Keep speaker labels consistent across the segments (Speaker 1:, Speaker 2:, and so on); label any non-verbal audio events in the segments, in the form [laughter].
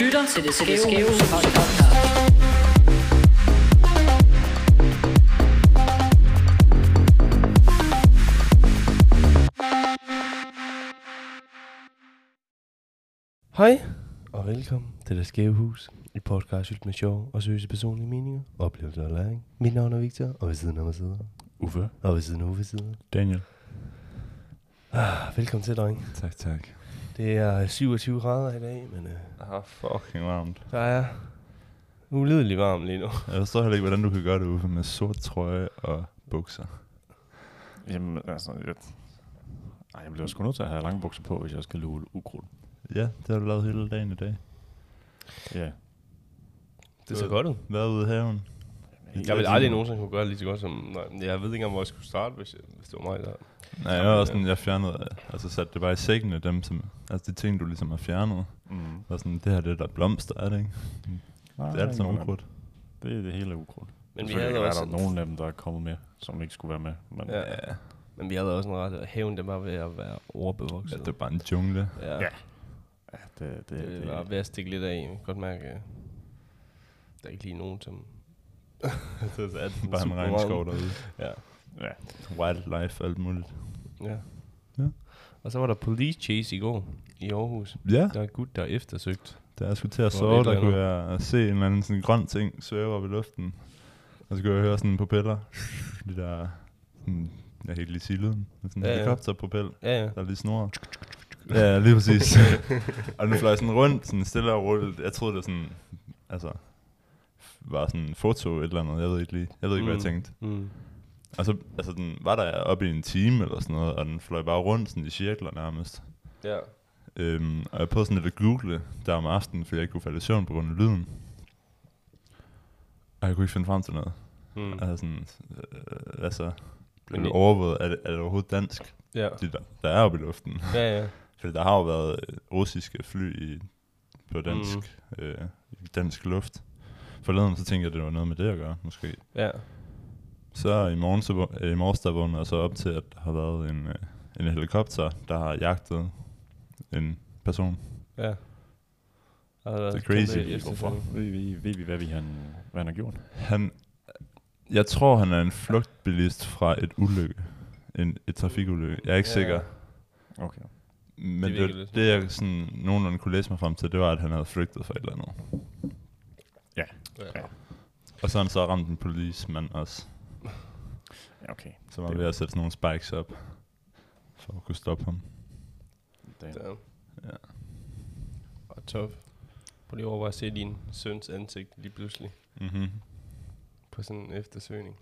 Speaker 1: lytter til det, til det skæve hus podcast.
Speaker 2: Hej og velkommen til Det Skæve Hus, et podcast fyldt med sjov og seriøse personlige meninger, oplevelser og læring. Mit navn er Victor, og ved siden af mig sidder,
Speaker 3: Uffe,
Speaker 2: og ved siden af Uffe sidder.
Speaker 3: Daniel.
Speaker 2: Ah, velkommen til, dreng.
Speaker 3: Tak, tak.
Speaker 2: Det er 27 grader i dag, men øh,
Speaker 3: Ah, fucking varmt.
Speaker 2: der er ulidelig varm lige nu.
Speaker 3: Jeg forstår heller ikke, hvordan du kan gøre det, Uffe, med sort trøje og bukser.
Speaker 4: Jamen, altså... Jeg... Ej, jeg bliver sgu nødt til at have lange bukser på, hvis jeg skal luge ukrudt.
Speaker 3: Ja, det har du lavet hele dagen i dag.
Speaker 4: Ja.
Speaker 2: Øh, Det ser godt ud.
Speaker 3: Været ude i haven.
Speaker 2: Jeg vil aldrig nogensinde kunne gøre det lige så godt som... Nej, jeg ved ikke engang, hvor jeg skulle starte, hvis, jeg, hvis det var mig, der...
Speaker 3: Nej, jeg var også sådan, jeg fjernede, altså satte det bare i sækken af dem, som, altså de ting, du ligesom har fjernet.
Speaker 4: Mm.
Speaker 3: Og sådan, det her, det er der blomster, er det ikke?
Speaker 2: Ah,
Speaker 3: Det er alt sammen ukrudt.
Speaker 4: Det er det hele ukrudt.
Speaker 2: Men vi
Speaker 4: Selvfølgelig
Speaker 2: havde
Speaker 4: er
Speaker 2: også...
Speaker 4: der nogen af dem, der er kommet med, som ikke skulle være med. Men
Speaker 2: Ja. Men vi havde også en ret... Haven, det var ved at være
Speaker 3: Ja,
Speaker 2: overbevokset.
Speaker 3: det er bare en jungle.
Speaker 2: ja.
Speaker 4: Ja. ja, det, det,
Speaker 2: Det, det, det var ved at stikke Øh, lidt af. Jeg kan godt mærke, at der er ikke lige nogen, som... så er [laughs] det sådan
Speaker 3: Bare en
Speaker 2: super
Speaker 3: regnskov
Speaker 2: varmt.
Speaker 3: derude.
Speaker 2: Ja.
Speaker 4: ja.
Speaker 3: Wildlife, alt muligt.
Speaker 2: ja.
Speaker 3: Ja.
Speaker 2: Og så var der police chase i går i Aarhus.
Speaker 3: Ja,
Speaker 2: Der er en gut, der er eftersøgt.
Speaker 3: da jeg skulle til at
Speaker 2: Hvor
Speaker 3: sove,
Speaker 2: et
Speaker 3: der
Speaker 2: eller
Speaker 3: kunne jeg se en eller anden sådan grøn ting svæve op i luften. Og så kunne jeg høre sådan en propeller. [sniffs] Det der, sådan, jeg kan ikke lige sige lyden. men Sådan en
Speaker 2: Ja,
Speaker 3: ja,
Speaker 2: ja.
Speaker 3: helikopterpropel,
Speaker 2: Ja, ja.
Speaker 3: der lige snor. Ja, lige
Speaker 2: [laughs]
Speaker 3: præcis. og den fløj sådan rundt, sådan stille og roligt. Jeg troede, det sådan, altså, var sådan en foto et eller andet. Jeg ved ikke lige, jeg ved ikke, mm. hvad jeg
Speaker 2: Mm.
Speaker 3: tænkte.
Speaker 2: Mm.
Speaker 3: Og så altså, den var der oppe i en time eller sådan noget, og den fløj bare rundt sådan i cirkler nærmest.
Speaker 2: Ja.
Speaker 3: Øhm, og jeg prøvede sådan lidt at google der om aftenen, fordi jeg ikke kunne falde i søvn på grund af lyden. Og jeg kunne ikke finde frem til noget.
Speaker 2: Mm.
Speaker 3: Altså sådan, øh, altså, blev
Speaker 2: Men
Speaker 3: det
Speaker 2: I-
Speaker 3: overvåget, er det, er det overhovedet dansk,
Speaker 2: Ja.
Speaker 3: det der, der er oppe i luften? [laughs]
Speaker 2: Ja, ja.
Speaker 3: Fordi der har jo været øh, russiske fly i, på
Speaker 2: Hmm.
Speaker 3: dansk, mm. øh, i dansk luft. Forleden så tænkte jeg, at det var noget med det at gøre, måske.
Speaker 2: Ja.
Speaker 3: Så i morgen, så, vå- øh, i morges der vågnede jeg så op til, at der har været en, øh, en helikopter, der har jagtet en person.
Speaker 2: Ja. Og
Speaker 3: Det
Speaker 2: der
Speaker 3: er
Speaker 2: kæmpe
Speaker 3: crazy.
Speaker 2: eftersøgning.
Speaker 4: Hvorfor? Ved vi, ved vi hvad, vi han, hvad han har gjort?
Speaker 3: Han, jeg tror, han er en flugtbilist fra et ulykke. En, et trafikulykke. Jeg er ikke
Speaker 2: Ja.
Speaker 3: ja. sikker.
Speaker 4: Okay.
Speaker 3: Men
Speaker 2: Det
Speaker 3: det,
Speaker 2: virker
Speaker 3: det,
Speaker 2: lidt
Speaker 3: det jeg sådan, nogenlunde kunne læse mig frem til, det var, at han havde flygtet fra et eller andet.
Speaker 2: Ja.
Speaker 3: Og så har han så ramt en politimand også,
Speaker 4: Ja, Okay.
Speaker 3: som var
Speaker 4: Det-
Speaker 3: ved at sætte sådan nogle spikes op, for at kunne stoppe ham.
Speaker 4: Damn.
Speaker 2: Der.
Speaker 3: Ja.
Speaker 2: Og tof. Prøv lige at overveje at se din søns ansigt lige pludselig
Speaker 3: Mm-hmm.
Speaker 2: på sådan en eftersøgning.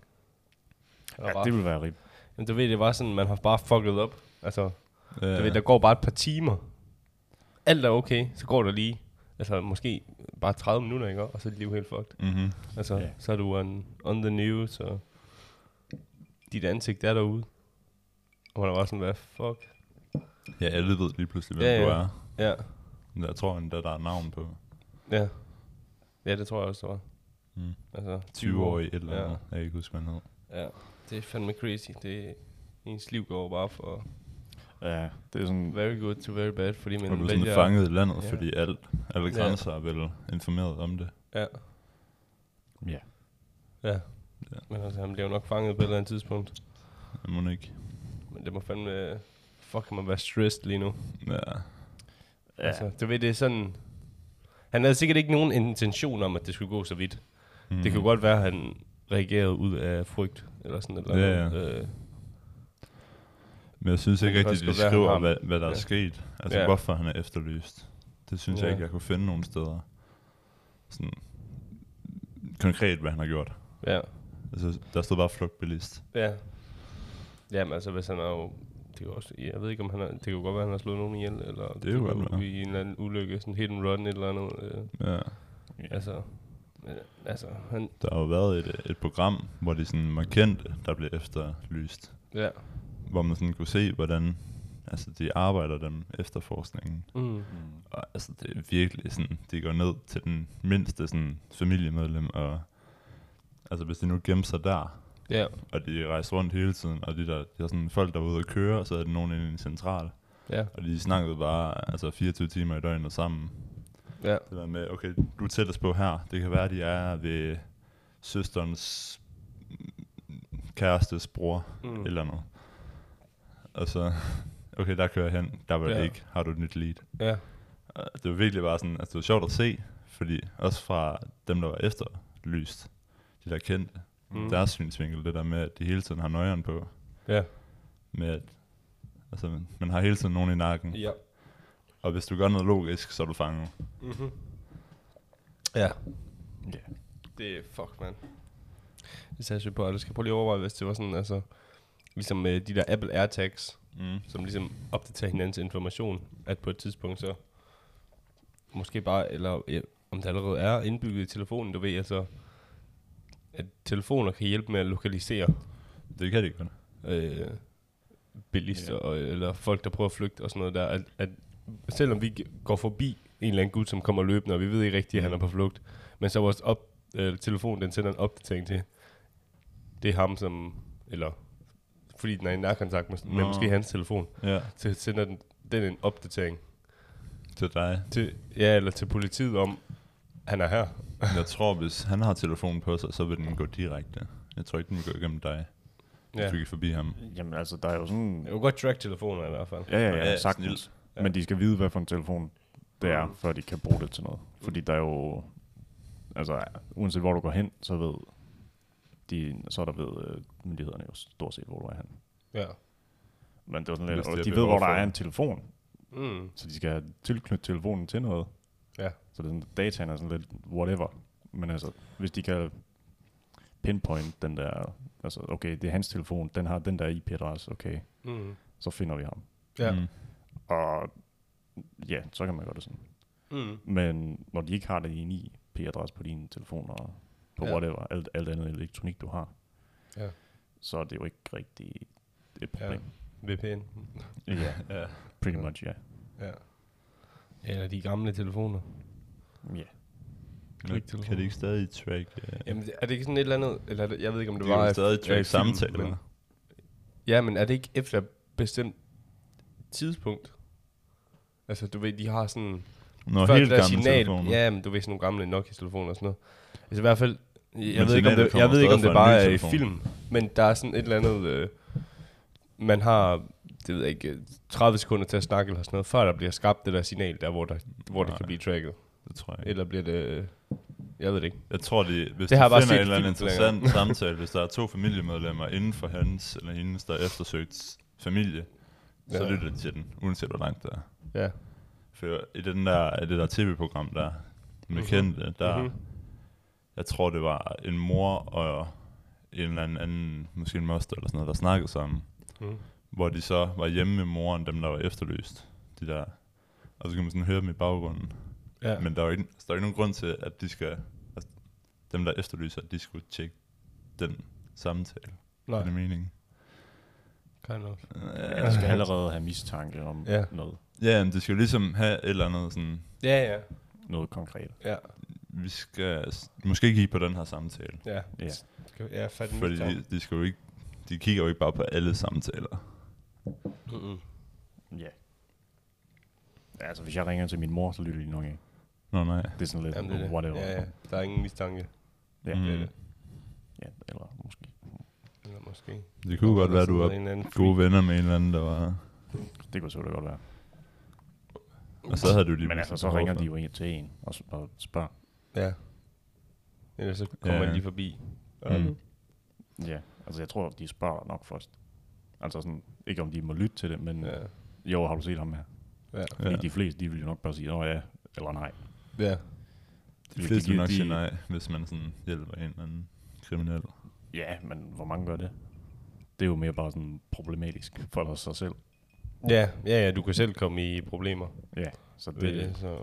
Speaker 2: Eller
Speaker 4: Ja,
Speaker 2: bare-
Speaker 4: det ville være rigtigt.
Speaker 2: Jamen, du ved, det var sådan, man har bare fucket op. Altså, ja. du ved,
Speaker 3: Øh,
Speaker 2: der går bare et par timer. Alt er okay, så går der lige, altså måske bare 30 minutter, ikke? Og så er dit liv helt fucked.
Speaker 3: mm-hmm.
Speaker 2: Altså, ja.
Speaker 4: Ja.
Speaker 2: så er du on, on the news, og dit ansigt er derude. Og man er bare sådan, hvad fuck?
Speaker 3: Ja, alle ved lige pludselig, hvem ja,
Speaker 2: Ja,
Speaker 3: ja. du
Speaker 2: ja.
Speaker 3: er.
Speaker 2: Ja,
Speaker 3: Men Jeg tror endda, der er navn på
Speaker 2: ja. Ja, det tror jeg også, det var.
Speaker 3: Mm.
Speaker 2: Altså,
Speaker 3: 20 år i et eller
Speaker 2: Ja.
Speaker 3: andet. Jeg kan ikke huske, hvad han hed.
Speaker 2: Ja, det er fandme crazy. Det ens liv går bare fra
Speaker 4: Ja, det er sådan...
Speaker 2: very good to very bad, fordi man
Speaker 3: Og blev sådan fanget i landet,
Speaker 2: Ja.
Speaker 3: ja. fordi alt, alle
Speaker 2: Ja.
Speaker 3: grænser er vel informeret om det.
Speaker 2: Ja.
Speaker 4: Ja.
Speaker 2: Ja. ja.
Speaker 3: Ja.
Speaker 2: Men altså, han bliver jo nok fanget på et eller andet tidspunkt.
Speaker 3: Jeg må ikke.
Speaker 2: Men det må fandme... Fuck, kan man være stressed lige nu.
Speaker 3: Ja.
Speaker 2: Ja. Altså, du ved, det er sådan... Han havde sikkert ikke nogen intention om, at det skulle gå så vidt. Mm.
Speaker 3: Mm.
Speaker 2: Det kunne godt være, at han reagerede ud af frygt, eller sådan et eller
Speaker 3: Ja,
Speaker 2: andet. Ja, ja. Øh,
Speaker 3: Men jeg synes
Speaker 2: Det
Speaker 3: ikke
Speaker 2: kan
Speaker 3: rigtigt, de
Speaker 2: også godt være,
Speaker 3: skriver,
Speaker 2: han har
Speaker 3: hvad, hvad der
Speaker 2: Ja.
Speaker 3: er sket. Altså,
Speaker 2: Ja.
Speaker 3: hvorfor han er efterlyst. Det synes
Speaker 2: Ja.
Speaker 3: jeg ikke, jeg kunne finde nogen steder. Sådan konkret, hvad han har gjort.
Speaker 2: ja.
Speaker 3: Altså, der stod bare flugtbilist.
Speaker 2: Ja. Jamen altså, hvis han har jo... Det er jo også, jeg ved ikke, om han har, det kan jo godt være, at han har slået nogen ihjel, eller
Speaker 3: Det er jo godt
Speaker 2: ud
Speaker 3: være.
Speaker 2: i en eller anden ulykke, sådan hit and run, et eller andet. Øh,
Speaker 3: Ja.
Speaker 4: Ja.
Speaker 2: altså, men, altså, han,
Speaker 3: Der har jo været et, et program, hvor de sådan markante, der blev efterlyst.
Speaker 2: ja.
Speaker 3: Hvor man sådan kunne se, hvordan altså, de arbejder dem efterforskningen.
Speaker 2: Mm.
Speaker 4: Mm.
Speaker 3: Og altså, det er virkelig sådan, de går ned til den mindste sådan, familiemedlem, og altså, hvis de nu gemmer sig der,
Speaker 2: Ja,
Speaker 3: Og de rejste rundt hele tiden, og de der, de der sådan folk, der var ude at køre, og så havde de nogen inde i en central.
Speaker 2: ja,
Speaker 3: Og de snakkede bare altså 24 timer i døgnet sammen.
Speaker 2: Ja.
Speaker 3: Det der med, okay, du er tættest på her. Det kan være, de er ved søsterens mm, kærestes bror, mm. eller noget. Og så, okay, der kører jeg hen. Der var det
Speaker 2: Ja.
Speaker 3: ikke. Har du et nyt lead?
Speaker 2: Ja.
Speaker 3: Og Øh, det var virkelig bare sådan, altså det var sjovt at se, fordi også fra dem, der var efterlyst, de der kendte, mm. deres synsvinkel, det der med, at de hele tiden har nøjeren på,
Speaker 2: Ja.
Speaker 3: med at altså, man- man har hele tiden nogen i nakken,
Speaker 2: Ja.
Speaker 3: og hvis du gør noget logisk, så er du fanget.
Speaker 2: Mm-hmm. Ja.
Speaker 4: Ja.
Speaker 2: Det er fuck, mand. Det sagde jeg på, og du skal prøve lige at overveje, hvis det var sådan, altså, ligesom med de der Apple AirTags,
Speaker 3: Mm.
Speaker 2: som ligesom opdaterer hinandens information, at på et tidspunkt så, måske bare, eller ja, om det allerede er indbygget i telefonen, du ved, altså, at telefoner kan hjælpe med at lokalisere
Speaker 3: Det kan de godt.
Speaker 2: øh, bilister, og, eller folk, der prøver at flygte og sådan noget der, at, at selvom vi g- går forbi en eller anden gut, som kommer løbende, og vi ved ikke rigtigt, at han er på flugt, men så vores op, øh, telefon, den sender en opdatering til, det er ham, som, eller fordi den er i nærkontakt med, med
Speaker 3: Nå.
Speaker 2: måske hans telefon,
Speaker 3: Ja,
Speaker 2: så sender den, den en opdatering
Speaker 3: til dig.
Speaker 2: til, ja, eller til politiet om, han er her.
Speaker 3: Jeg tror, hvis han har telefonen på sig, så vil den gå direkte. Jeg tror ikke, den vil gå igennem dig, hvis
Speaker 2: Ja.
Speaker 3: du gik forbi ham.
Speaker 4: Jamen altså, der er jo sådan...
Speaker 2: Jeg kunne godt track telefoner i hvert fald.
Speaker 4: Ja, ja,
Speaker 3: Ja,
Speaker 4: ja,
Speaker 3: ja,
Speaker 4: ja sagtens. Ja. Men de skal vide, hvad for en telefon det er, før de kan bruge det til noget.
Speaker 3: Mm.
Speaker 4: Fordi der er jo... Altså, uanset hvor du går hen, så ved de, så er der ved øh, myndighederne jo stort set, hvor du er hen.
Speaker 2: Ja.
Speaker 4: Men det er sådan
Speaker 3: Hvis
Speaker 4: lidt,
Speaker 3: de
Speaker 4: og
Speaker 3: er
Speaker 4: de ved,
Speaker 3: behov
Speaker 4: hvor der
Speaker 3: for
Speaker 4: er
Speaker 3: det.
Speaker 4: en telefon,
Speaker 2: Mm.
Speaker 4: så de skal tilknytte telefonen til noget.
Speaker 2: Ja.
Speaker 4: Så det er sådan, dataen er sådan lidt whatever. Men altså, hvis de kan pinpoint den der, altså okay, det er hans telefon, den har den der IP-adresse, okay,
Speaker 2: Mm.
Speaker 4: så finder vi ham.
Speaker 2: Ja.
Speaker 3: Mm.
Speaker 4: Og ja, så kan man gøre det sådan.
Speaker 2: Mm.
Speaker 4: Men når de ikke har det i en IP-adresse på dine telefoner og på
Speaker 2: Ja.
Speaker 4: ja. whatever, alt, alt andet elektronik, du har,
Speaker 2: Ja.
Speaker 4: så er det jo ikke rigtig et
Speaker 2: Ja. [laughs]
Speaker 4: problem.
Speaker 2: VPN.
Speaker 4: Ja, yeah,
Speaker 3: Ja.
Speaker 4: pretty
Speaker 2: Ja.
Speaker 4: much, ja.
Speaker 2: Ja. Eller de gamle telefoner.
Speaker 3: Men
Speaker 4: Yeah.
Speaker 2: Klik-telefoner.
Speaker 3: Kan de ikke stadig track? Uh,
Speaker 2: Jamen, er det ikke sådan et eller andet, eller er det- jeg ved ikke, om
Speaker 3: de
Speaker 2: det
Speaker 3: kan
Speaker 2: var...
Speaker 3: jo
Speaker 2: at-
Speaker 3: stadig
Speaker 2: ja, i
Speaker 3: track
Speaker 2: film,
Speaker 3: samtaler.
Speaker 2: men- Ja, men er det ikke efter et bestemt tidspunkt? Altså, du ved, de har sådan...
Speaker 3: Nå,
Speaker 2: før
Speaker 3: helt
Speaker 2: det der
Speaker 3: gamle telefoner.
Speaker 2: Ja, men du ved, sådan nogle gamle Nokia-telefoner og sådan noget. Altså i hvert fald, jeg, jeg ved ikke, om
Speaker 3: signalet
Speaker 2: det,
Speaker 3: kommer
Speaker 2: jeg ved ikke, om
Speaker 3: stadig
Speaker 2: det
Speaker 3: fra en
Speaker 2: bare
Speaker 3: ny
Speaker 2: er i
Speaker 3: telefon.
Speaker 2: film, men der er sådan et eller andet... Øh, man har, det ved jeg ikke, øh, 30 sekunder til at snakke eller sådan noget, før der bliver skabt det der signal der, hvor, der, hvor det
Speaker 3: Nej.
Speaker 2: kan blive tracket.
Speaker 3: Det tror jeg ikke.
Speaker 2: Eller bliver det... øh, Jeg ved det ikke.
Speaker 3: Jeg tror, de, hvis
Speaker 2: Det
Speaker 3: det
Speaker 2: har jeg
Speaker 3: de
Speaker 2: bare
Speaker 3: finder en
Speaker 2: set i
Speaker 3: eller anden
Speaker 2: film længere.
Speaker 3: interessant samtale, hvis der er to familiemedlemmer inden for hans eller hendes, der er eftersøgt familie, så
Speaker 2: Ja.
Speaker 3: lytter de til den, uanset hvor langt det er.
Speaker 2: Ja.
Speaker 3: For i den der, i det der tv-program der, med
Speaker 2: Mhm.
Speaker 3: kendte, der,
Speaker 2: Mhm.
Speaker 3: jeg tror, det var en mor og en eller anden, anden måske en moster eller sådan noget, der snakkede sammen,
Speaker 2: Mm.
Speaker 3: hvor de så var hjemme med moren, dem der var efterlyst, de der, og så kan man sådan høre dem i baggrunden.
Speaker 2: Ja.
Speaker 3: Men der er jo ikke, altså, der er ikke nogen grund til, at de skal, altså, dem der efterlyser, at de skulle tjekke den samtale.
Speaker 2: Nej,
Speaker 3: Er det meningen?
Speaker 2: kind of.
Speaker 4: Ja. Man skal allerede have mistanke om
Speaker 2: Ja.
Speaker 4: ja. noget,
Speaker 3: Ja, men de skal jo ligesom have et eller andet sådan,
Speaker 2: Ja, ja,
Speaker 4: noget konkret.
Speaker 2: ja,
Speaker 3: vi skal s- måske kigge på den her samtale.
Speaker 2: ja.
Speaker 4: Ja.
Speaker 2: Skal vi- Ja, fat
Speaker 4: Mm,
Speaker 2: den
Speaker 3: Fordi de, de, skal jo ikke, de kigger jo ikke bare på alle samtaler.
Speaker 2: Mm-hmm.
Speaker 4: Ja. Altså, hvis jeg ringer til min mor, så lytter de nok af.
Speaker 3: Nå nej.
Speaker 4: Det er sådan lidt
Speaker 2: Jamen, det er det.
Speaker 4: whatever.
Speaker 2: Ja, ja. Der er ingen mistanke.
Speaker 4: Ja.
Speaker 3: Mm.
Speaker 2: Det er det.
Speaker 4: ja, eller måske.
Speaker 2: Eller måske.
Speaker 3: Det kunne godt være, du
Speaker 2: er
Speaker 3: var
Speaker 2: en eller anden
Speaker 3: gode venner med en eller anden, der var...
Speaker 4: Det kunne selvfølgelig godt være.
Speaker 3: Og så havde du lige
Speaker 4: Men altså,
Speaker 3: pludselig
Speaker 4: så
Speaker 3: behov
Speaker 4: ringer
Speaker 3: for-
Speaker 4: de jo en til en og, s- og spørger.
Speaker 2: Ja. Ellers så kommer
Speaker 3: Ja.
Speaker 2: man lige forbi.
Speaker 3: Mm.
Speaker 4: Ja, altså jeg tror, de spørger nok først. Altså sådan, ikke om de må lytte til det, men ja.
Speaker 2: Ja.
Speaker 4: jo, har du set ham her?
Speaker 2: Ja.
Speaker 4: Fordi de fleste, de vil jo nok bare sige, åh ja, eller nej.
Speaker 2: Ja.
Speaker 3: De fleste vil nok
Speaker 4: de-
Speaker 3: sige nej, hvis man sådan hjælper en eller anden kriminel.
Speaker 4: Ja, men hvor mange gør det? Det er jo mere bare sådan problematisk for sig selv.
Speaker 2: Ja, ja, ja, du kan selv komme i problemer.
Speaker 4: Ja, så
Speaker 2: Det. Ved det,
Speaker 4: det,
Speaker 2: så.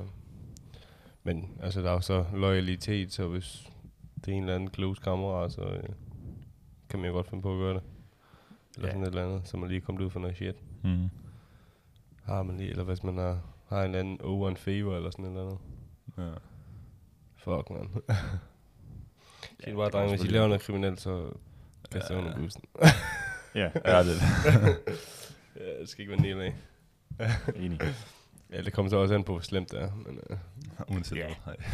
Speaker 2: Men altså, der er jo så loyalitet, så hvis det er en eller anden close kammerat, så øh, kan man jo godt finde på at gøre det. Eller
Speaker 4: Ja.
Speaker 2: sådan et eller andet, så man lige er kommet ud for noget shit.
Speaker 3: Mm.
Speaker 2: Har man lige, eller hvis man har, har en eller anden over en favor eller sådan et eller andet.
Speaker 3: Ja.
Speaker 2: Fuck,
Speaker 4: [laughs]
Speaker 2: man. Sig
Speaker 4: det
Speaker 2: bare,
Speaker 4: kan
Speaker 2: drenge, hvis I
Speaker 4: selvfølgelig-
Speaker 2: laver noget kriminelt, så kaster jeg under
Speaker 4: [laughs]
Speaker 2: bussen.
Speaker 4: ja,
Speaker 3: ja, det
Speaker 2: Ja, det skal ikke være en del af.
Speaker 4: enig.
Speaker 2: Ja, det kommer så også an på, hvor slemt det er. Men, uh,
Speaker 3: Uanset
Speaker 4: Ja.
Speaker 3: yeah. hvad. Ej.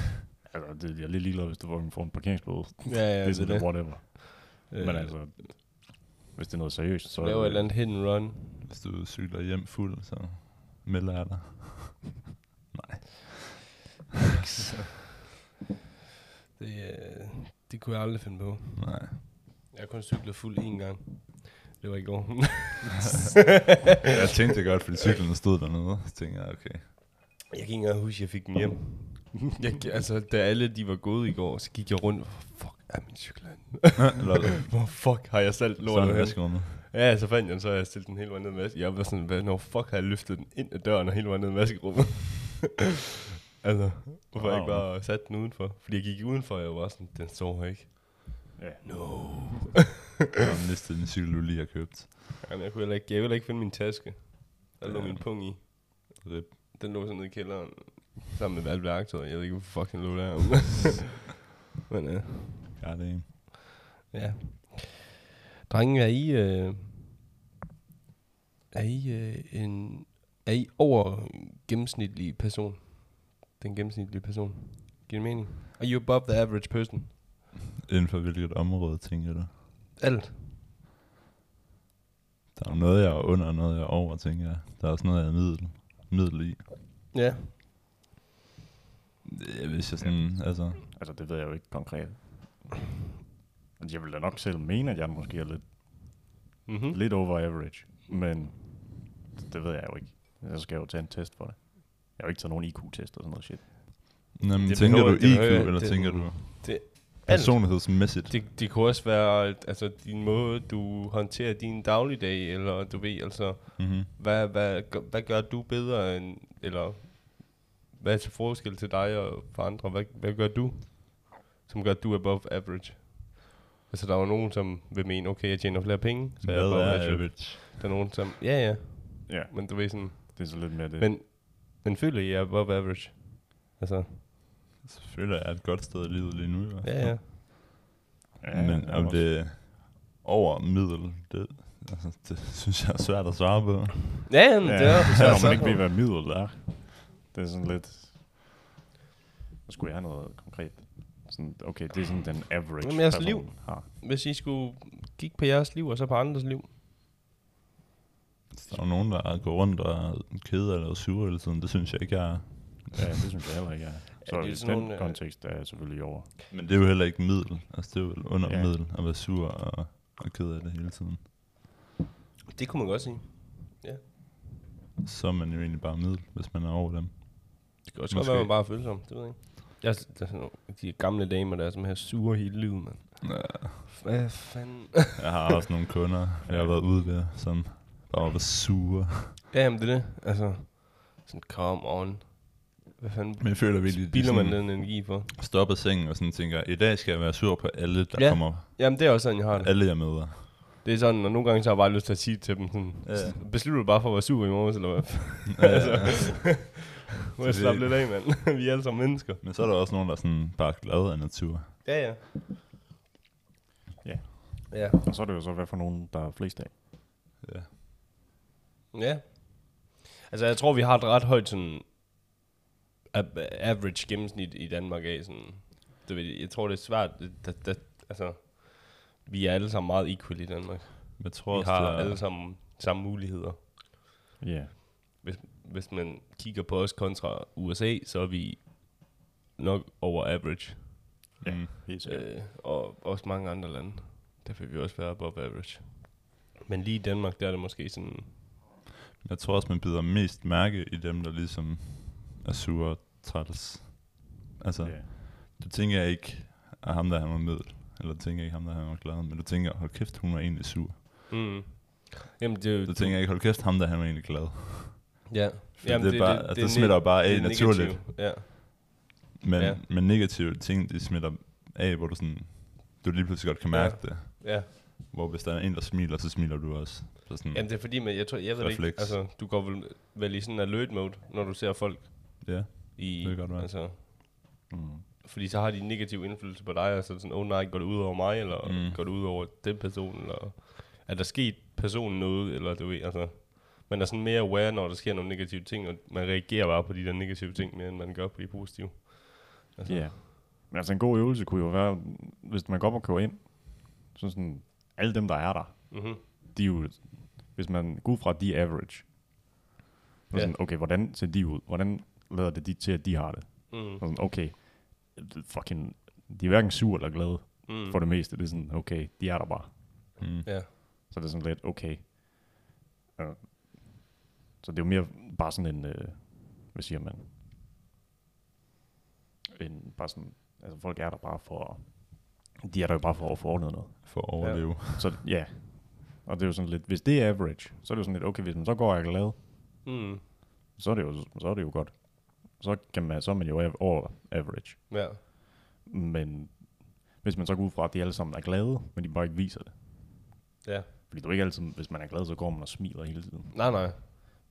Speaker 4: Altså, det, jeg er lidt ligeglad, hvis du fucking får en parkeringsbøde.
Speaker 2: Ja, ja,
Speaker 4: Ja, det er det. whatever.
Speaker 2: Øh,
Speaker 4: Men altså, hvis det er noget seriøst, så...
Speaker 2: laver et eller andet hit and run.
Speaker 3: Hvis du cykler hjem fuld, så melder jeg dig.
Speaker 2: [laughs] Det, øh, det kunne jeg aldrig finde på.
Speaker 3: Nej.
Speaker 2: Jeg har kun cyklet fuld én gang. Det var i går. [laughs]
Speaker 3: Jeg tænkte det godt, fordi cyklen stod dernede. Så tænkte jeg, okay.
Speaker 2: jeg kan ikke engang huske, at jeg fik den hjem. [laughs] Jeg, gi- altså, da alle de var gået i går, så gik jeg rundt. Hvor fuck er min cykel henne?
Speaker 3: Lol.
Speaker 2: [laughs] Hvor fuck har jeg selv
Speaker 3: Så er det
Speaker 2: lortet henne?
Speaker 3: vaskerummet.
Speaker 2: Ja, så fandt jeg den, så har jeg stillet den hele vejen ned i vasken. Jeg var sådan, hvad, når fuck har jeg løftet den ind ad døren og hele vejen ned i vaskerummet? [laughs] altså, hvorfor wow. jeg ikke
Speaker 4: Wow.
Speaker 2: bare sat den udenfor? Fordi jeg gik udenfor, og jeg var sådan, den sover ikke.
Speaker 4: Ja.
Speaker 2: No.
Speaker 3: Jeg har mistet den cykel, du lige har købt.
Speaker 2: Jamen, jeg kunne heller ikke, jeg kunne heller ikke finde min taske. Der lå
Speaker 3: Ja.
Speaker 2: min pung i.
Speaker 3: Rip.
Speaker 2: Altså, Den lå sådan nede i kælderen, sammen med alt værktøjet. Jeg ved ikke, hvor fucking lå [laughs] der. Men øh,
Speaker 3: Ja, det er en.
Speaker 2: ja. Drenge, er I, øh, er I øh, en, er I over gennemsnitlig person? Den gennemsnitlige person. Giver det mening? Are you above the average person?
Speaker 3: Inden for hvilket område, tænker du?
Speaker 2: Alt.
Speaker 3: Der er jo noget, jeg er under, og noget, jeg er over, tænker jeg. Der er også noget, jeg er middel, middel i.
Speaker 2: Ja.
Speaker 3: Øh, Hvis jeg sådan, altså...
Speaker 4: Altså, det ved jeg jo ikke konkret. Altså, Jeg vil da nok selv mene, at jeg måske er lidt,
Speaker 2: Mm-hmm.
Speaker 4: lidt over average, men det ved jeg jo ikke. Så skal jeg jo tage en test for det. Jeg har jo ikke taget nogen IQ-test og sådan noget shit.
Speaker 3: Nå, men
Speaker 2: Det
Speaker 3: tænker
Speaker 2: behøver-
Speaker 3: du
Speaker 2: det
Speaker 3: IQ,
Speaker 2: behøver-
Speaker 3: eller
Speaker 2: det-
Speaker 3: tænker du
Speaker 2: det-
Speaker 3: personlighedsmæssigt?
Speaker 2: Det, det kunne også være altså, din måde, du håndterer din dagligdag, eller du ved, altså,
Speaker 3: Mm-hmm.
Speaker 2: hvad, hvad, gør- hvad gør du bedre end, eller hvad er til forskel til dig og for andre? Hvad, hvad gør du, som gør, at du er above average? Altså, der er jo nogen, som vil mene, okay, jeg tjener flere penge, så jeg er
Speaker 3: Hvad
Speaker 2: above
Speaker 3: er
Speaker 2: average.
Speaker 3: average?
Speaker 2: Der er nogen, som, ja, ja,
Speaker 4: Ja,
Speaker 2: men du ved sådan,
Speaker 4: det er så lidt mere det.
Speaker 2: men, men føler I, jeg er above average? Altså,
Speaker 3: Selvfølgelig er jeg et godt sted i livet lige nu. i hvert fald.
Speaker 2: ja, ja.
Speaker 4: ja,
Speaker 3: Men om det er over middel, det, altså, det synes jeg er svært at svare på.
Speaker 2: Ja, [laughs] ja, men
Speaker 4: Ja,
Speaker 2: det er
Speaker 4: især når
Speaker 2: altså-
Speaker 4: man ikke ved, hvad middel er. Det er sådan lidt... Nu skulle jeg have noget konkret. Sådan, okay, det er sådan den average
Speaker 2: Jamen, jeres
Speaker 4: person
Speaker 2: liv.
Speaker 4: har.
Speaker 2: Hvis I skulle kigge på jeres liv, og så på andres liv.
Speaker 3: Der er jo nogen, der går rundt og er kede eller sure hele tiden. Det synes jeg ikke, jeg er.
Speaker 4: Ja, det synes jeg heller ikke er. Så
Speaker 2: det er
Speaker 4: i den
Speaker 2: sådan nogle, øh,
Speaker 4: kontekst er jeg selvfølgelig over.
Speaker 3: Men det er jo heller ikke middel. Altså, det er jo under
Speaker 4: Ja.
Speaker 3: ja. middel at være sur og, og ked af det hele tiden.
Speaker 2: Det kunne man godt sige.
Speaker 3: Så er man jo egentlig bare middel, hvis man er over dem.
Speaker 2: Det kan også godt
Speaker 3: Måske.
Speaker 2: være, man bare er følsom. Det ved jeg ikke. Jeg, der er sådan nogle, de gamle damer, der er som her sure hele livet, mand. Hvad fanden?
Speaker 3: Jeg har også nogle kunder, jeg har været ude ved, som bare var sure.
Speaker 2: [laughs] ja, jamen det er det. Altså, sådan, come on. Hvad fanden
Speaker 3: Men jeg føler virkelig,
Speaker 2: biler man den energi for?
Speaker 3: stopper sengen og sådan tænker, i dag skal jeg være sur på alle, der
Speaker 2: Ja.
Speaker 3: ja. kommer,
Speaker 2: Jamen, det er også sådan, jeg har det.
Speaker 3: alle jeg møder.
Speaker 2: Det er sådan, og nogle gange så har jeg bare lyst til at sige til dem, sådan, ja.
Speaker 3: Ja.
Speaker 2: beslutter du bare for at være sur i morges, [laughs] eller hvad?
Speaker 3: altså.
Speaker 2: [laughs] Må jeg
Speaker 3: det-
Speaker 2: slappe lidt af, mand? [laughs] Vi er alle sammen mennesker.
Speaker 3: Men så er der også nogen, der er sådan bare glade af natur.
Speaker 2: Ja, ja.
Speaker 4: Ja.
Speaker 2: Ja.
Speaker 4: Og så er det jo så, hvad for nogen, der er flest af.
Speaker 3: Ja.
Speaker 2: Ja. Altså, jeg tror, vi har et ret højt sådan ab- average gennemsnit i Danmark af sådan... Du ved, jeg tror, det er svært. Da, da, altså, vi er alle sammen meget equal i Danmark.
Speaker 3: Jeg tror
Speaker 2: Vi
Speaker 3: også,
Speaker 2: har
Speaker 3: der,
Speaker 2: alle sammen samme muligheder.
Speaker 4: Ja.
Speaker 2: Hvis, hvis man kigger på os kontra USA, så er vi nok over average.
Speaker 3: Mm,
Speaker 4: Helt sikkert.
Speaker 2: Øh, og også mange andre lande. Der vil vi også være above average. Men lige i Danmark, der er det måske sådan...
Speaker 3: jeg tror også, man bider mest mærke i dem, der ligesom er sure og træls. Altså,
Speaker 4: Ja.
Speaker 3: du tænker ikke, at ham der han var middel, eller du tænker ikke ham der han var glad, men du tænker, hold kæft, hun er egentlig sur.
Speaker 2: Mm. Jamen, det er jo...
Speaker 3: Du tænker ikke, hold kæft, ham der han var egentlig glad.
Speaker 2: Ja.
Speaker 3: For det, er bare, det, altså, det, smitter jo bare af
Speaker 2: det er
Speaker 3: naturligt.
Speaker 2: negativt, Ja.
Speaker 3: Men,
Speaker 2: Ja.
Speaker 3: ja. men negative ting, de smitter af, hvor du sådan, du lige pludselig godt kan
Speaker 2: Ja.
Speaker 3: mærke ja. det.
Speaker 2: ja.
Speaker 3: Hvor hvis der er en, der smiler, så smiler du også. Så sådan,
Speaker 2: Jamen, det er fordi, men jeg tror, jeg ved det ikke,
Speaker 3: Mm. Refleks.
Speaker 2: altså, du går vel, vel i sådan en alert mode, når du ser folk
Speaker 3: ja,
Speaker 2: i,
Speaker 3: Det kan godt være.
Speaker 2: altså,
Speaker 4: Mm.
Speaker 2: fordi så har de en negativ indflydelse på dig, og så er det sådan, oh nej, går det ud over mig, eller mm.
Speaker 3: Mm.
Speaker 2: går det ud over den person, eller er der sket personen noget, eller du ved, altså, Man er sådan mere aware, når der sker nogle negative ting, og man reagerer bare på de der negative ting, mere end man gør på de positive. Altså,
Speaker 4: Ja. Men altså en god øvelse kunne jo være, hvis man går op og kører ind, så sådan, alle dem, der er der,
Speaker 2: Mhm.
Speaker 4: de er jo, hvis man går ud fra, at de er average, så
Speaker 2: Ja.
Speaker 4: ja. sådan, okay, hvordan ser de ud? Hvordan lader det de til, at de har det?
Speaker 2: Mm.
Speaker 4: Og sådan, okay, fucking, de er hverken sur eller glade
Speaker 2: Mm.
Speaker 4: for det meste. Det er sådan, okay, de er der bare.
Speaker 3: Mm.
Speaker 2: Ja.
Speaker 4: Så det er sådan lidt, okay. Ja. Så det er jo mere bare sådan en, øh, hvad siger man? En, bare sådan, altså folk er der bare for, de er der jo bare for at få ordnet noget.
Speaker 3: For at overleve.
Speaker 4: Så ja, og det er jo sådan lidt, hvis det er average, så er det jo sådan lidt, okay, hvis man så går og er glad,
Speaker 2: Mm.
Speaker 4: så er det jo, så er det jo godt. Så, kan man, så er man jo av- over average.
Speaker 2: Ja.
Speaker 4: Men hvis man så går ud fra, at de alle sammen er glade, men de bare ikke viser det.
Speaker 2: Ja.
Speaker 4: Fordi du er ikke altid, hvis man er glad, så går man og smiler hele tiden.
Speaker 2: Nej, nej.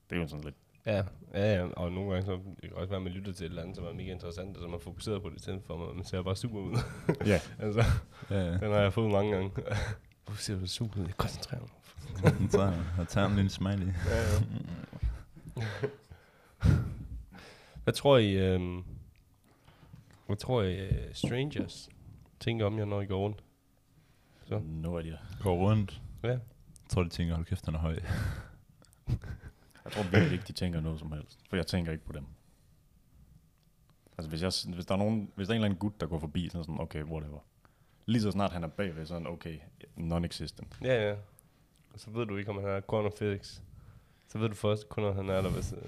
Speaker 4: Det er jo sådan lidt,
Speaker 2: Ja, ja, ja, og nogle gange så det kan også være, at man lytter til et eller andet, som er mega interessant, og så man fokuserer på det, i stedet for at man ser bare [laughs] super ud.
Speaker 4: ja,
Speaker 2: altså,
Speaker 3: Ja, ja.
Speaker 2: den har jeg fået mange gange. [laughs] Hvorfor ser du super ud? Jeg koncentrerer
Speaker 3: [laughs]
Speaker 2: mig.
Speaker 3: Så jeg tager ham lige en smiley.
Speaker 2: Ja, ja. Hvad tror I, øhm, hvad tror I, øh, strangers tænker om jer, når I går rundt? Så.
Speaker 4: no idea.
Speaker 3: Går rundt.
Speaker 2: Ja.
Speaker 3: Jeg tror, de tænker, hold kæft, han er høj. [laughs]
Speaker 4: Jeg tror virkelig ikke, de tænker noget som helst, for jeg tænker ikke på dem. Altså hvis, jeg, s- hvis der er nogen, hvis der er en eller anden gut, der går forbi, så er jeg sådan, okay, whatever. Lige så snart han er bagved, så er han, okay, non-existent.
Speaker 2: Ja, ja. Og så ved du ikke, om han er corner physics. Så ved du først kun, om han er der, hvis, [laughs] øh,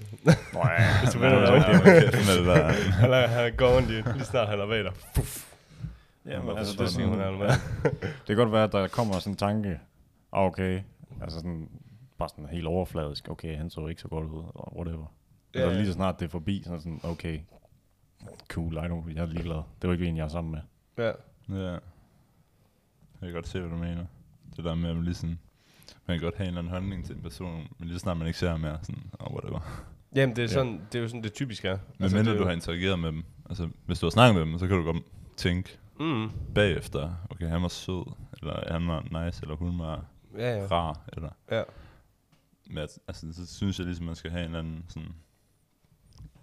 Speaker 4: Nå ja,
Speaker 2: hvis du
Speaker 4: nej,
Speaker 2: vender dig om.
Speaker 4: nej,
Speaker 2: Han er, han er gående lige, lige snart, han er bag dig.
Speaker 4: ja, men
Speaker 2: Hvorfor
Speaker 4: altså,
Speaker 2: synes du ikke,
Speaker 4: der,
Speaker 2: hun er
Speaker 4: er
Speaker 2: almindelig?
Speaker 4: noget, det kan godt være, at der kommer sådan en tanke, ah, okay, altså sådan, bare sådan helt overfladisk, okay, han så ikke så godt ud, eller whatever.
Speaker 2: Ja,
Speaker 4: Ja, altså,
Speaker 2: ja.
Speaker 4: lige så snart det er forbi, så er jeg sådan, okay, cool, I don't, jeg er ligeglad. Det var ikke en, jeg er sammen med.
Speaker 2: Ja.
Speaker 3: Ja. Jeg kan godt se, hvad du mener. Det der med, at man lige sådan, man kan godt have en eller anden holdning til en person, men lige så snart man ikke ser ham mere, sådan, oh, whatever.
Speaker 2: Jamen, det er,
Speaker 4: Ja.
Speaker 2: sådan, det er jo sådan, det typisk er.
Speaker 3: Men altså, mindre
Speaker 2: Altså, det er
Speaker 3: du har
Speaker 2: jo-
Speaker 3: interageret med dem, altså hvis du har snakket med dem, så kan du godt tænke
Speaker 2: Mm,
Speaker 3: bagefter, okay, han var sød, eller han var nice, eller hun var
Speaker 2: ja, ja.
Speaker 3: rar, eller...
Speaker 2: Ja.
Speaker 3: Men at- altså, så synes jeg ligesom, man skal have en eller anden sådan... En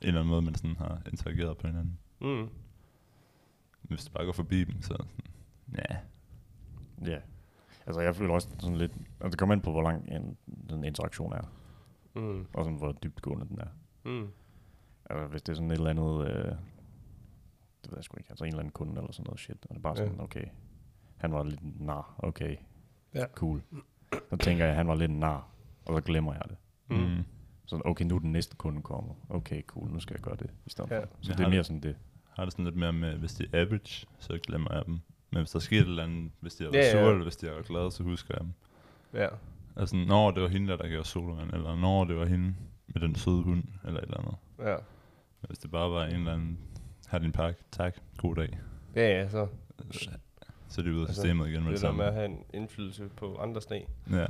Speaker 3: eller anden måde, man sådan har interageret på hinanden.
Speaker 2: Mm.
Speaker 3: Hvis du bare går forbi dem, så er det sådan... Ja.
Speaker 4: Ja. Altså, jeg føler også sådan lidt... Altså, det kommer ind på, hvor lang en, den interaktion er,
Speaker 2: Mm.
Speaker 4: og sådan, hvor dybtgående den er.
Speaker 2: Mm.
Speaker 4: Altså, hvis det er sådan et eller andet... Øh, det ved jeg sgu ikke. Altså, en eller anden kunde eller sådan noget shit. Og det er bare
Speaker 2: Ja.
Speaker 4: sådan, okay... Han var lidt en nar, okay.
Speaker 2: Ja.
Speaker 4: Cool. Så tænker jeg, at han var lidt en nar, og så glemmer jeg det.
Speaker 2: Mm.
Speaker 3: Mm.
Speaker 4: Så okay, nu er den næste kunde kommer. Okay, cool, nu skal jeg gøre det i stedet
Speaker 2: Ja.
Speaker 4: ja. for. Så
Speaker 3: Jeg
Speaker 4: det er
Speaker 3: har
Speaker 4: mere
Speaker 3: det.
Speaker 4: sådan det.
Speaker 3: Har det sådan lidt mere med, hvis det er average, så glemmer jeg dem. Men hvis der sker et eller andet, hvis de er
Speaker 2: Ja, ja.
Speaker 3: yeah, sure, eller hvis de er glade, så husker jeg dem.
Speaker 2: Ja.
Speaker 3: Altså, når det var hende, der, der gav os sodavand, eller når det var hende med den søde hund, eller et eller andet.
Speaker 2: Ja.
Speaker 3: Men hvis det bare var en eller anden, har din pakke, tak, god dag.
Speaker 2: Ja, ja, så
Speaker 3: Så er det ud af
Speaker 2: Altså,
Speaker 3: systemet igen med det,
Speaker 2: det der
Speaker 3: samme.
Speaker 2: med at have en indflydelse på andres dag.
Speaker 3: Ja.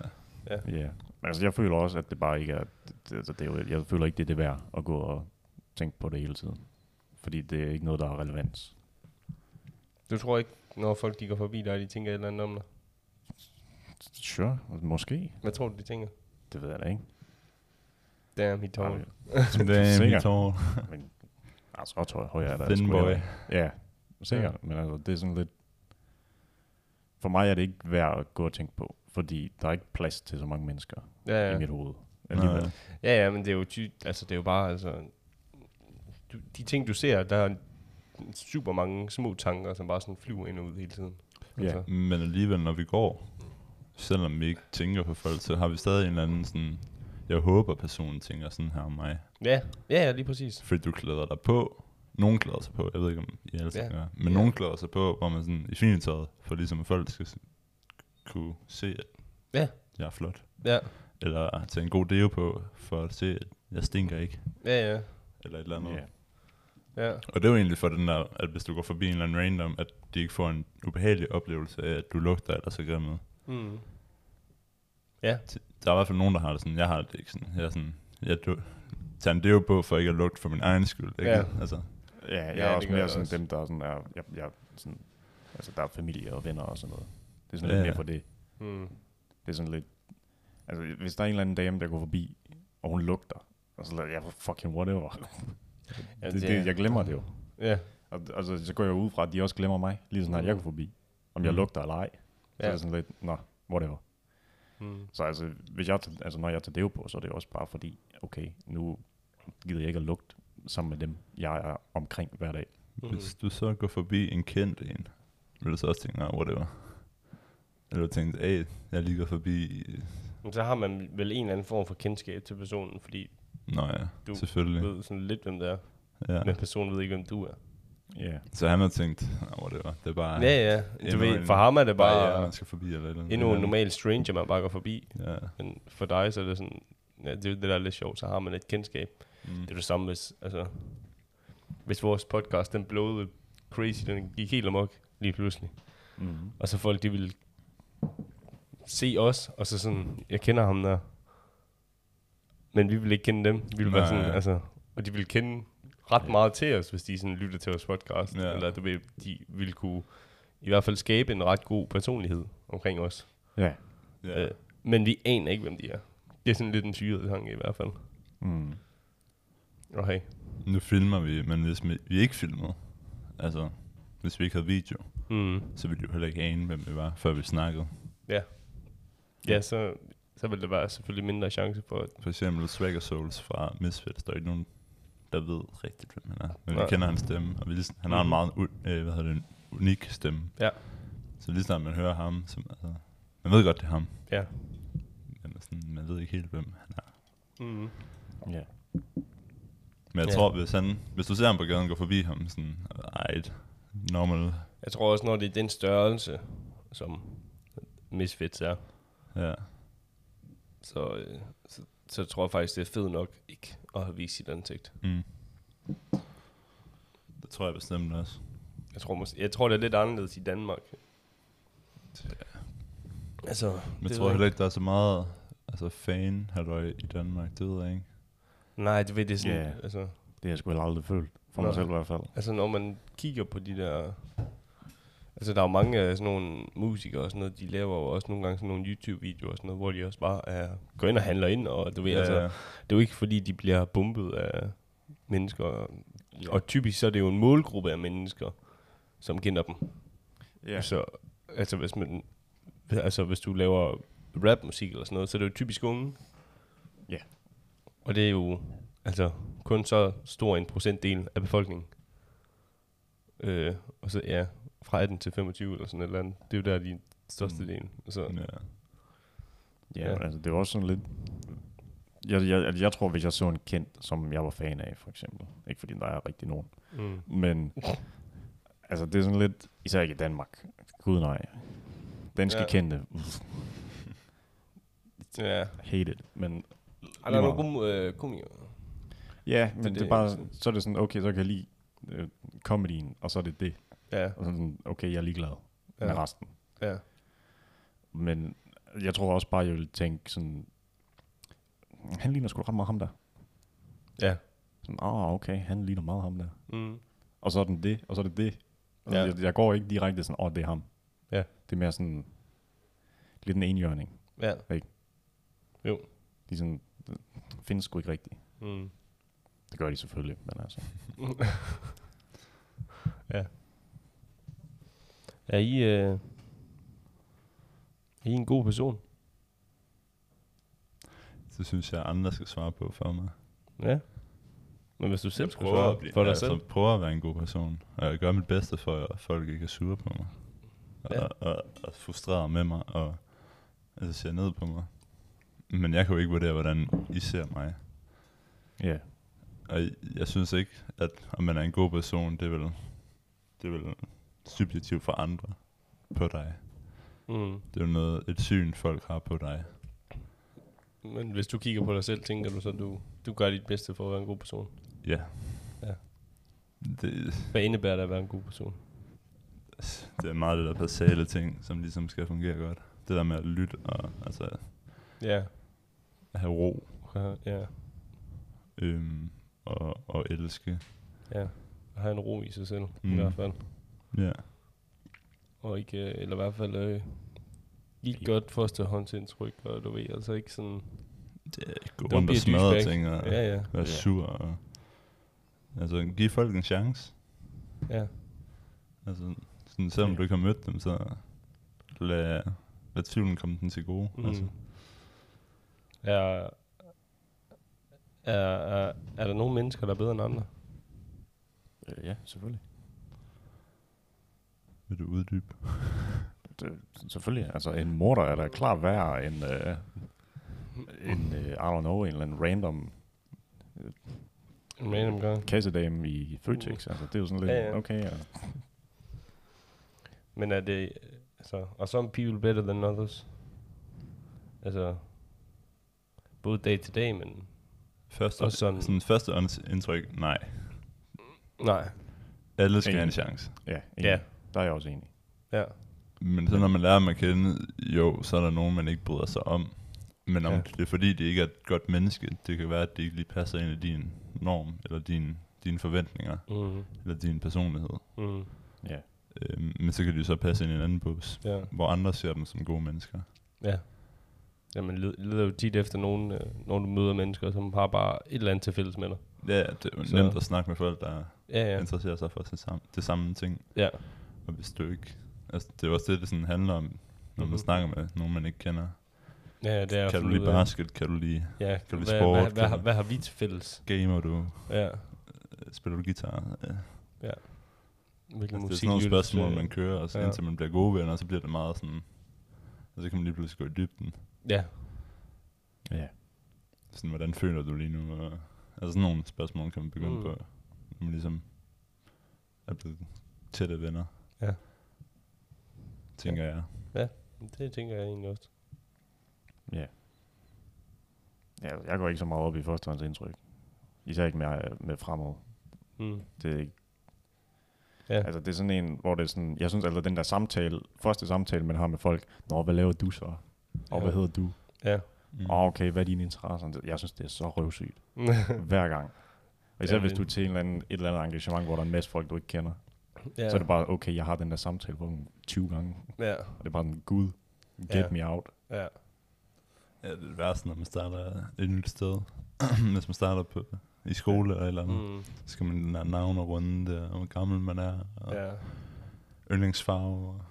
Speaker 4: Ja. Yeah. Altså, jeg føler også, at det bare ikke er... Det, altså, det er jo, jeg føler ikke, det er det værd at gå og tænke på det hele tiden. Fordi det er ikke noget, der har relevans.
Speaker 2: Du tror ikke, når folk de går forbi dig, de tænker et eller andet om dig?
Speaker 4: Sure, måske.
Speaker 2: Hvad tror du, de tænker? Det ved jeg
Speaker 4: Eller ikke?
Speaker 2: Damn, he told
Speaker 4: Nej,
Speaker 2: me.
Speaker 3: Damn,
Speaker 4: Sikkert.
Speaker 3: mit hår.
Speaker 4: Men, altså, så tror jeg, højere er der.
Speaker 3: Thin
Speaker 4: sgu
Speaker 3: boy.
Speaker 4: heller ikke. Ja, sikkert. Men altså, det er sådan lidt... For mig er det ikke værd at gå og tænke på, fordi der er ikke plads til så mange mennesker
Speaker 2: Ja,
Speaker 4: ja. i
Speaker 2: ja.
Speaker 4: mit
Speaker 3: Nej.
Speaker 4: hoved. Alligevel.
Speaker 2: Ja, ja, men det er jo ty altså det er jo bare, altså, du, de ting du ser, der er super mange små tanker, som bare sådan flyver ind og ud hele tiden.
Speaker 4: Ja.
Speaker 2: Altså,
Speaker 3: Men alligevel, når vi går, selvom vi ikke tænker på folk, så har vi stadig en eller anden sådan... Jeg håber, personen tænker sådan her om mig.
Speaker 2: ja. ja, ja, lige præcis.
Speaker 3: Fordi du klæder dig på. Nogen klæder sig på. Jeg ved ikke, om I alle
Speaker 2: Ja.
Speaker 3: yeah. gør. Men
Speaker 2: Ja.
Speaker 3: nogen klæder sig på, hvor man sådan i fint tøjet, for ligesom at folk skal s- kunne se, at
Speaker 2: Ja.
Speaker 3: jeg er flot.
Speaker 2: Ja,
Speaker 3: Eller tage en god deo på, for at se, at jeg stinker ikke.
Speaker 2: ja, ja.
Speaker 3: Eller et eller andet.
Speaker 4: Ja.
Speaker 3: Yeah.
Speaker 2: ja.
Speaker 3: Og det er jo egentlig for den der, at hvis du går forbi en eller anden random, at de ikke får en ubehagelig oplevelse af, at du lugter eller så grimt.
Speaker 2: Mm.
Speaker 3: der er i hvert fald nogen, der har det sådan, jeg har det ikke sådan, jeg er sådan, jeg du, tager en deo på, for ikke at lugte for min egen skyld, ikke?
Speaker 2: Ja.
Speaker 3: Altså,
Speaker 4: Ja, jeg
Speaker 2: Ja,
Speaker 4: ja, er
Speaker 2: det
Speaker 4: også
Speaker 2: gør
Speaker 4: mere
Speaker 2: jeg
Speaker 4: sådan
Speaker 2: også.
Speaker 4: dem, der er sådan er... Jeg, jeg, sådan, altså, der er familie og venner og sådan noget. Det er sådan
Speaker 3: Ja,
Speaker 4: lidt
Speaker 3: ja.
Speaker 4: mere for det.
Speaker 2: Mm.
Speaker 4: Det er sådan lidt... Altså, hvis der er en eller anden dame, der går forbi, og hun lugter. Og så lader jeg fucking whatever.
Speaker 2: Ja,
Speaker 4: det,
Speaker 2: det
Speaker 4: det,
Speaker 2: er-
Speaker 4: jeg glemmer det jo.
Speaker 2: Ja,
Speaker 4: Og, altså, så går jeg ud fra, at de også glemmer mig, lige sådan, at jeg går forbi. Om jeg lugter eller ej. Så
Speaker 2: Ja.
Speaker 4: er det sådan lidt, nå, whatever.
Speaker 2: Mm.
Speaker 4: Så altså, hvis jeg, tager- altså, når jeg tager det på, så er det også bare fordi, okay, nu gider jeg ikke at lugte sammen med dem, jeg er omkring hver dag.
Speaker 3: Hvis du så går forbi en kendt en, vil du så også tænke, nah, whatever. Eller du tænkte, hey, jeg lige går forbi...
Speaker 2: Men så har man vel en eller anden form for kendskab til personen, fordi
Speaker 3: Nå ja,
Speaker 2: Du
Speaker 3: du selvfølgelig.
Speaker 2: du ved sådan lidt, hvem det er,
Speaker 3: Ja.
Speaker 2: men personen ved ikke, hvem du er.
Speaker 4: Ja. Yeah.
Speaker 3: Så han har tænkt, nah, whatever, det er bare...
Speaker 2: Ja, ja. Du
Speaker 3: endnu
Speaker 2: ved,
Speaker 3: en-
Speaker 2: for ham er det
Speaker 3: Bare, ja,
Speaker 2: bare
Speaker 3: man skal forbi eller et eller andet.
Speaker 2: endnu en normal stranger, man bare går forbi.
Speaker 3: Ja.
Speaker 2: Men for dig, så er det sådan, ja, det er jo det, der er lidt sjovt, så har man et kendskab.
Speaker 3: Mm.
Speaker 2: Det er det samme, hvis, altså, hvis vores podcast, den blåede crazy, den gik helt amok lige pludselig.
Speaker 4: Mm-hmm.
Speaker 3: Mm.
Speaker 2: Og så folk, de ville se os, og så sådan, jeg kender ham der. Men vi ville ikke kende dem. Vi ville være
Speaker 3: Nej.
Speaker 2: sådan, altså, og de ville kende ret meget til os, hvis de sådan lyttede til vores podcast.
Speaker 3: Ja.
Speaker 2: Eller du ved, de ville kunne i hvert fald skabe en ret god personlighed omkring os.
Speaker 4: Ja.
Speaker 3: Ja.
Speaker 2: Øh, men vi aner ikke, hvem de er. Det er sådan lidt en syret tanke i hvert fald.
Speaker 4: Mm.
Speaker 2: Okay.
Speaker 3: Nu filmer vi, men hvis vi vi ikke filmede, altså hvis vi ikke havde video,
Speaker 2: Mm.
Speaker 3: så ville vi jo heller ikke ane, hvem vi var, før vi snakkede.
Speaker 2: Ja, så, så vil der være selvfølgelig mindre chance for, at
Speaker 3: For eksempel Swagger Souls fra Misfits, der er ikke nogen, der ved rigtigt, hvem han er. Men
Speaker 2: Nej.
Speaker 3: vi kender hans stemme, og vi, lige- han har en
Speaker 2: Mhm.
Speaker 3: meget u- øh, hvad hedder det, unik stemme.
Speaker 2: Ja.
Speaker 3: Så lige snart man hører ham, så altså, man ved godt, det er ham.
Speaker 2: Ja.
Speaker 3: Men sådan, man ved ikke helt, hvem han er.
Speaker 2: mm.
Speaker 4: Ja.
Speaker 3: Men jeg
Speaker 2: Ja.
Speaker 3: tror, hvis, han, hvis du ser ham på gaden og går forbi ham, sådan, ej, et normal,
Speaker 2: Jeg tror også, når det er den størrelse, som Misfits er,
Speaker 3: ja.
Speaker 2: så, øh, så, så tror jeg faktisk, det er fedt nok ikke at have vist sit ansigt.
Speaker 3: Mm. Det tror jeg bestemt også.
Speaker 2: Jeg tror, mås- jeg tror det er lidt anderledes i Danmark. Altså,
Speaker 3: Men
Speaker 2: det
Speaker 3: jeg tror
Speaker 2: ved
Speaker 3: heller ikke, der er så meget altså fan halløj i Danmark, det ved jeg ikke.
Speaker 2: Nej, det ved det er sådan,
Speaker 4: Ja.
Speaker 2: yeah. altså,
Speaker 4: Det har jeg sgu heller aldrig følt, for mig
Speaker 2: Nej.
Speaker 4: selv i hvert fald.
Speaker 2: altså når man kigger på de der... Altså, der er jo mange af sådan nogle musikere og sådan noget, de laver jo også nogle gange sådan nogle YouTube-videoer og sådan noget, hvor de også bare er, går ind og handler ind, og du ved, ja, altså,
Speaker 3: ja.
Speaker 2: det er jo ikke fordi, de bliver bumpet af mennesker. Og typisk så er det jo en målgruppe af mennesker, som kender dem.
Speaker 4: Ja.
Speaker 2: Så, altså, hvis man, altså, hvis du laver rapmusik eller sådan noget, så er det jo typisk unge.
Speaker 4: Ja.
Speaker 2: Og det er jo altså, kun så stor en procentdel af befolkningen. Øh, og så ja, fra 18 til 25 eller sådan et eller andet. Det er jo der, de største
Speaker 3: Mm.
Speaker 2: mm. del. Så,
Speaker 3: ja.
Speaker 4: Ja,
Speaker 2: Ja.
Speaker 4: ja. altså det var også sådan lidt... Jeg, jeg, altså, jeg tror, hvis jeg så en kendt, som jeg var fan af, for eksempel. Ikke fordi der er rigtig nogen.
Speaker 2: mm. [laughs]
Speaker 4: Men altså det er sådan lidt... Især ikke i Danmark. Gud nej. Danske
Speaker 2: Ja.
Speaker 4: ja. kendte. Uff,
Speaker 2: ja.
Speaker 4: Hate it. Men
Speaker 2: Ej, der er
Speaker 4: meget.
Speaker 2: nogle gode øh, komikere.
Speaker 4: ja, men det,
Speaker 2: det altså.
Speaker 4: det
Speaker 2: er
Speaker 4: er bare...
Speaker 2: sådan-
Speaker 4: Så er det sådan, okay, så kan jeg lide øh, comedyen, og så er det det.
Speaker 2: Ja,
Speaker 4: Og så er det sådan, okay, jeg er ligeglad ja. med
Speaker 2: ja,
Speaker 4: resten.
Speaker 2: ja.
Speaker 4: Men jeg tror også bare, jeg ville tænke sådan... Han ligner sgu da ret meget ham der.
Speaker 2: ja.
Speaker 4: Sådan, ah, oh, okay, han ligner meget ham der.
Speaker 2: Mm.
Speaker 4: Og så er den det, og så er det det. Altså,
Speaker 2: Ja.
Speaker 4: ja. jeg, jeg går ikke direkte sådan, åh, oh, det er ham.
Speaker 2: Ja.
Speaker 4: Det er mere sådan, lidt en enhjørning.
Speaker 2: Ja.
Speaker 4: De sådan, øh, findes sgu ikke rigtigt.
Speaker 2: Mm.
Speaker 4: Det gør de selvfølgelig, men altså.
Speaker 2: ja. Er I, øh, er I en god person?
Speaker 3: Så synes jeg, at andre skal svare på for mig.
Speaker 2: Ja. Men hvis du selv
Speaker 3: Jeg
Speaker 2: skulle svare for dig
Speaker 3: altså,
Speaker 2: selv.
Speaker 3: prøver at være en god person. Og jeg gør mit bedste for, at folk ikke er sure på mig. Og,
Speaker 2: Ja.
Speaker 3: ja. og, og frustreret med mig. Og altså, ser ned på mig. Men jeg kan jo ikke vurdere, hvordan I ser mig.
Speaker 4: Ja.
Speaker 3: Og jeg synes ikke, at om man er en god person, det er vel, det er vel subjektivt for andre på dig.
Speaker 2: Mm.
Speaker 3: Det er jo noget, et syn, folk har på dig.
Speaker 2: Men hvis du kigger på dig selv, tænker du så, at du, du gør dit bedste for at være en god person.
Speaker 3: Ja.
Speaker 2: Ja.
Speaker 3: Det, altså,
Speaker 2: Hvad indebærer det at være en god person?
Speaker 3: det er meget det der basale ting, som ligesom skal fungere godt. Det der med at lytte og altså,
Speaker 2: Ja.
Speaker 3: at have ro
Speaker 2: Ja. Ja.
Speaker 3: øhm, og, og elske.
Speaker 2: ja. At have en ro i sig selv, mm. i
Speaker 3: Mm.
Speaker 2: hvert fald.
Speaker 3: Ja.
Speaker 2: Og ikke, øh, eller i hvert fald, øh, give et godt første håndsindtryk, og du ved, altså ikke sådan,
Speaker 3: det er ikke gå
Speaker 2: Don't
Speaker 3: rundt
Speaker 2: be
Speaker 3: og
Speaker 2: a
Speaker 3: smadre
Speaker 2: douchebag.
Speaker 3: ting og
Speaker 2: Ja, ja.
Speaker 3: være sur. Og, altså, giv folk en chance.
Speaker 2: ja.
Speaker 3: Altså, sådan, selvom
Speaker 4: Ja.
Speaker 3: du ikke har mødt dem, så lad, lad tvivlen komme den til gode. Mm. Altså,
Speaker 2: Mm. Er, er, er, er der nogle mennesker, der er bedre end andre?
Speaker 4: Øh, ja, selvfølgelig.
Speaker 3: vil du uddybe?
Speaker 4: Det, selvfølgelig. Altså, en morder er da klart værre end, øh, en, øh, I don't know, en eller anden random
Speaker 2: En random guy.
Speaker 4: kassedame i Føtex. Altså, det er jo sådan lidt,
Speaker 2: Ja, ja.
Speaker 4: okay, ja.
Speaker 2: Men er det... Altså, are some people better than others? Altså... Både dag til dag, men...
Speaker 3: Første,
Speaker 2: Og sådan-
Speaker 3: sådan første ånds- indtryk, nej.
Speaker 2: Nej.
Speaker 3: Alle skal have en
Speaker 4: Enig.
Speaker 3: chance.
Speaker 4: Ja, enig.
Speaker 2: Ja.
Speaker 4: ja. Der er jeg også enig.
Speaker 2: Ja.
Speaker 3: Men så når man lærer dem at kende, jo, så er der nogen, man ikke bryder sig om. Men om
Speaker 2: Ja.
Speaker 3: ja. det er fordi, det ikke er et godt menneske, det kan være, at det ikke lige passer ind i din norm, eller din, dine forventninger,
Speaker 2: Mm,
Speaker 3: eller din personlighed.
Speaker 2: mm,
Speaker 4: Ja.
Speaker 3: Øhm, men så kan de jo så passe ind i en anden bus,
Speaker 2: ja.
Speaker 3: hvor andre ser dem som gode mennesker.
Speaker 2: Ja. Jamen, led- leder jo tit efter nogen, øh, når du møder mennesker, som har bare et eller andet til fælles med dig.
Speaker 3: Ja, ja, det er jo
Speaker 2: Så-
Speaker 3: så. nemt at snakke med folk, der
Speaker 2: Ja,
Speaker 3: ja.
Speaker 2: ja.
Speaker 3: interesserer sig for det samme, det samme ting.
Speaker 2: Ja,
Speaker 3: Og hvis du ikke... Altså, det er jo også det, det sådan handler om, når man
Speaker 2: Mhm.
Speaker 3: mm-hmm. snakker med nogen, man ikke kender.
Speaker 2: ja det er at
Speaker 3: kan du
Speaker 2: finde
Speaker 3: lide
Speaker 2: ud af-
Speaker 3: basket? Kan du lide...
Speaker 2: Ja,
Speaker 3: Kan du lide
Speaker 2: hvad,
Speaker 3: sport?
Speaker 2: Hvad, hvad,
Speaker 3: Kan
Speaker 2: har-
Speaker 3: du-
Speaker 2: hvad, har vi til fælles?
Speaker 3: Gamer du? øh,
Speaker 2: Ja,
Speaker 3: Spiller du guitar? Ja.
Speaker 2: hvilken
Speaker 3: Altså,
Speaker 2: musik
Speaker 3: det er sådan nogle
Speaker 2: lytter du til?
Speaker 3: spørgsmål, man kører, og så
Speaker 2: Ja.
Speaker 3: ja. indtil man bliver gode venner, så bliver det meget sådan... Og så kan man lige pludselig gå i dybden.
Speaker 2: Ja,
Speaker 4: Ja.
Speaker 3: Sådan, hvordan føler du lige nu? Og, altså sådan nogle spørgsmål kan man begynde
Speaker 2: Mm.
Speaker 3: mm. på, når man ligesom er blevet tætte venner.
Speaker 2: Ja.
Speaker 3: Tænker jeg.
Speaker 2: det tænker jeg egentlig også.
Speaker 4: Ja. ja. Jeg går ikke så meget op i førstehåndsindtryk. Især ikke med, øh, med fremad.
Speaker 2: Mm.
Speaker 4: Det er ikke...
Speaker 2: Ja.
Speaker 4: Altså, det er sådan en, hvor det er sådan... Jeg synes, altså, den der samtale, første samtale, man har med folk, Nå, hvad laver du så? Og
Speaker 2: Ja.
Speaker 4: hvad hedder du?
Speaker 2: Ja.
Speaker 3: Mm.
Speaker 4: Åh, okay, hvad er dine interesser? Det- Jeg synes, det er så røvsygt. Hver gang. Og især
Speaker 2: Ja,
Speaker 4: hvis
Speaker 2: det-
Speaker 4: du er til en eller anden, et eller andet engagement, hvor der er en masse folk, du ikke kender.
Speaker 2: ja.
Speaker 4: Ja. Så er det bare, okay, jeg har den der samtale på 20 gange.
Speaker 2: Ja,
Speaker 4: Og det er bare sådan, gud, get
Speaker 2: Ja.
Speaker 4: ja. me out.
Speaker 2: ja.
Speaker 3: Ja, det er det værste, når man starter et nyt sted. [clears throat] Hvis man starter på, i skole eller et eller andet, mm.
Speaker 2: Mm.
Speaker 3: så skal man lære navn og runde, og hvor gammel man er, og ja.
Speaker 2: Ja.
Speaker 3: yndlingsfarve og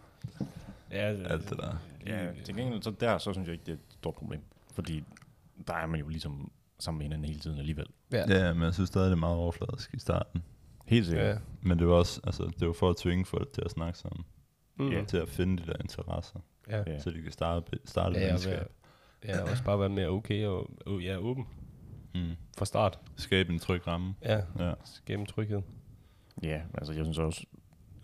Speaker 2: Ja, det,
Speaker 3: alt det der.
Speaker 4: Ja, til gengæld, så der, så synes jeg ikke, det er et stort problem. Fordi der er man jo ligesom sammen med hinanden hele tiden alligevel.
Speaker 2: Ja.
Speaker 3: Ja, ja men jeg synes stadig, det er meget overfladisk i starten.
Speaker 4: Helt sikkert.
Speaker 2: Ja.
Speaker 4: Ja.
Speaker 3: Men det var også, altså, det var for at tvinge folk til at snakke sammen,
Speaker 2: Mm.
Speaker 3: mm. til at finde de der interesser,
Speaker 2: Ja.
Speaker 4: Ja.
Speaker 3: ja. så de kan starte, starte ja,
Speaker 2: Ja, og
Speaker 3: venskab.
Speaker 2: være, ja, også bare være mere okay og, og ja, åben
Speaker 3: Mm.
Speaker 2: fra start.
Speaker 3: Skabe en tryg ramme.
Speaker 2: Ja,
Speaker 3: Ja.
Speaker 2: gennem tryghed.
Speaker 4: ja, altså jeg synes også,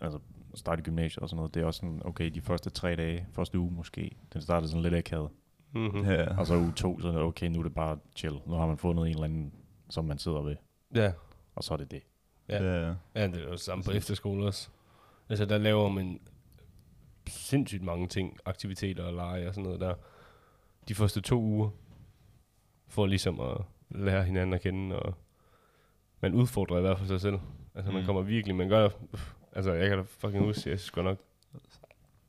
Speaker 4: altså at starte i gymnasiet og sådan noget, det er også sådan, okay, de første tre dage, første uge måske, den startede sådan lidt akavet.
Speaker 2: Mm-hmm.
Speaker 3: Ja, ja.
Speaker 4: Og så uge to, så er det, okay, nu er det bare chill. Nu har man fundet en eller anden, som man sidder ved.
Speaker 2: Ja.
Speaker 4: Og så er det det.
Speaker 2: Ja.
Speaker 3: ja, ja.
Speaker 2: ja, det er jo samme på efterskole også. Altså, der laver man sindssygt mange ting, aktiviteter og lege og sådan noget der. De første to uger, for ligesom at lære hinanden at kende, og man udfordrer i hvert fald sig selv. Altså, man
Speaker 3: Mm.
Speaker 2: kommer virkelig, man gør pff, Altså, jeg kan da fucking huske, jeg synes godt nok,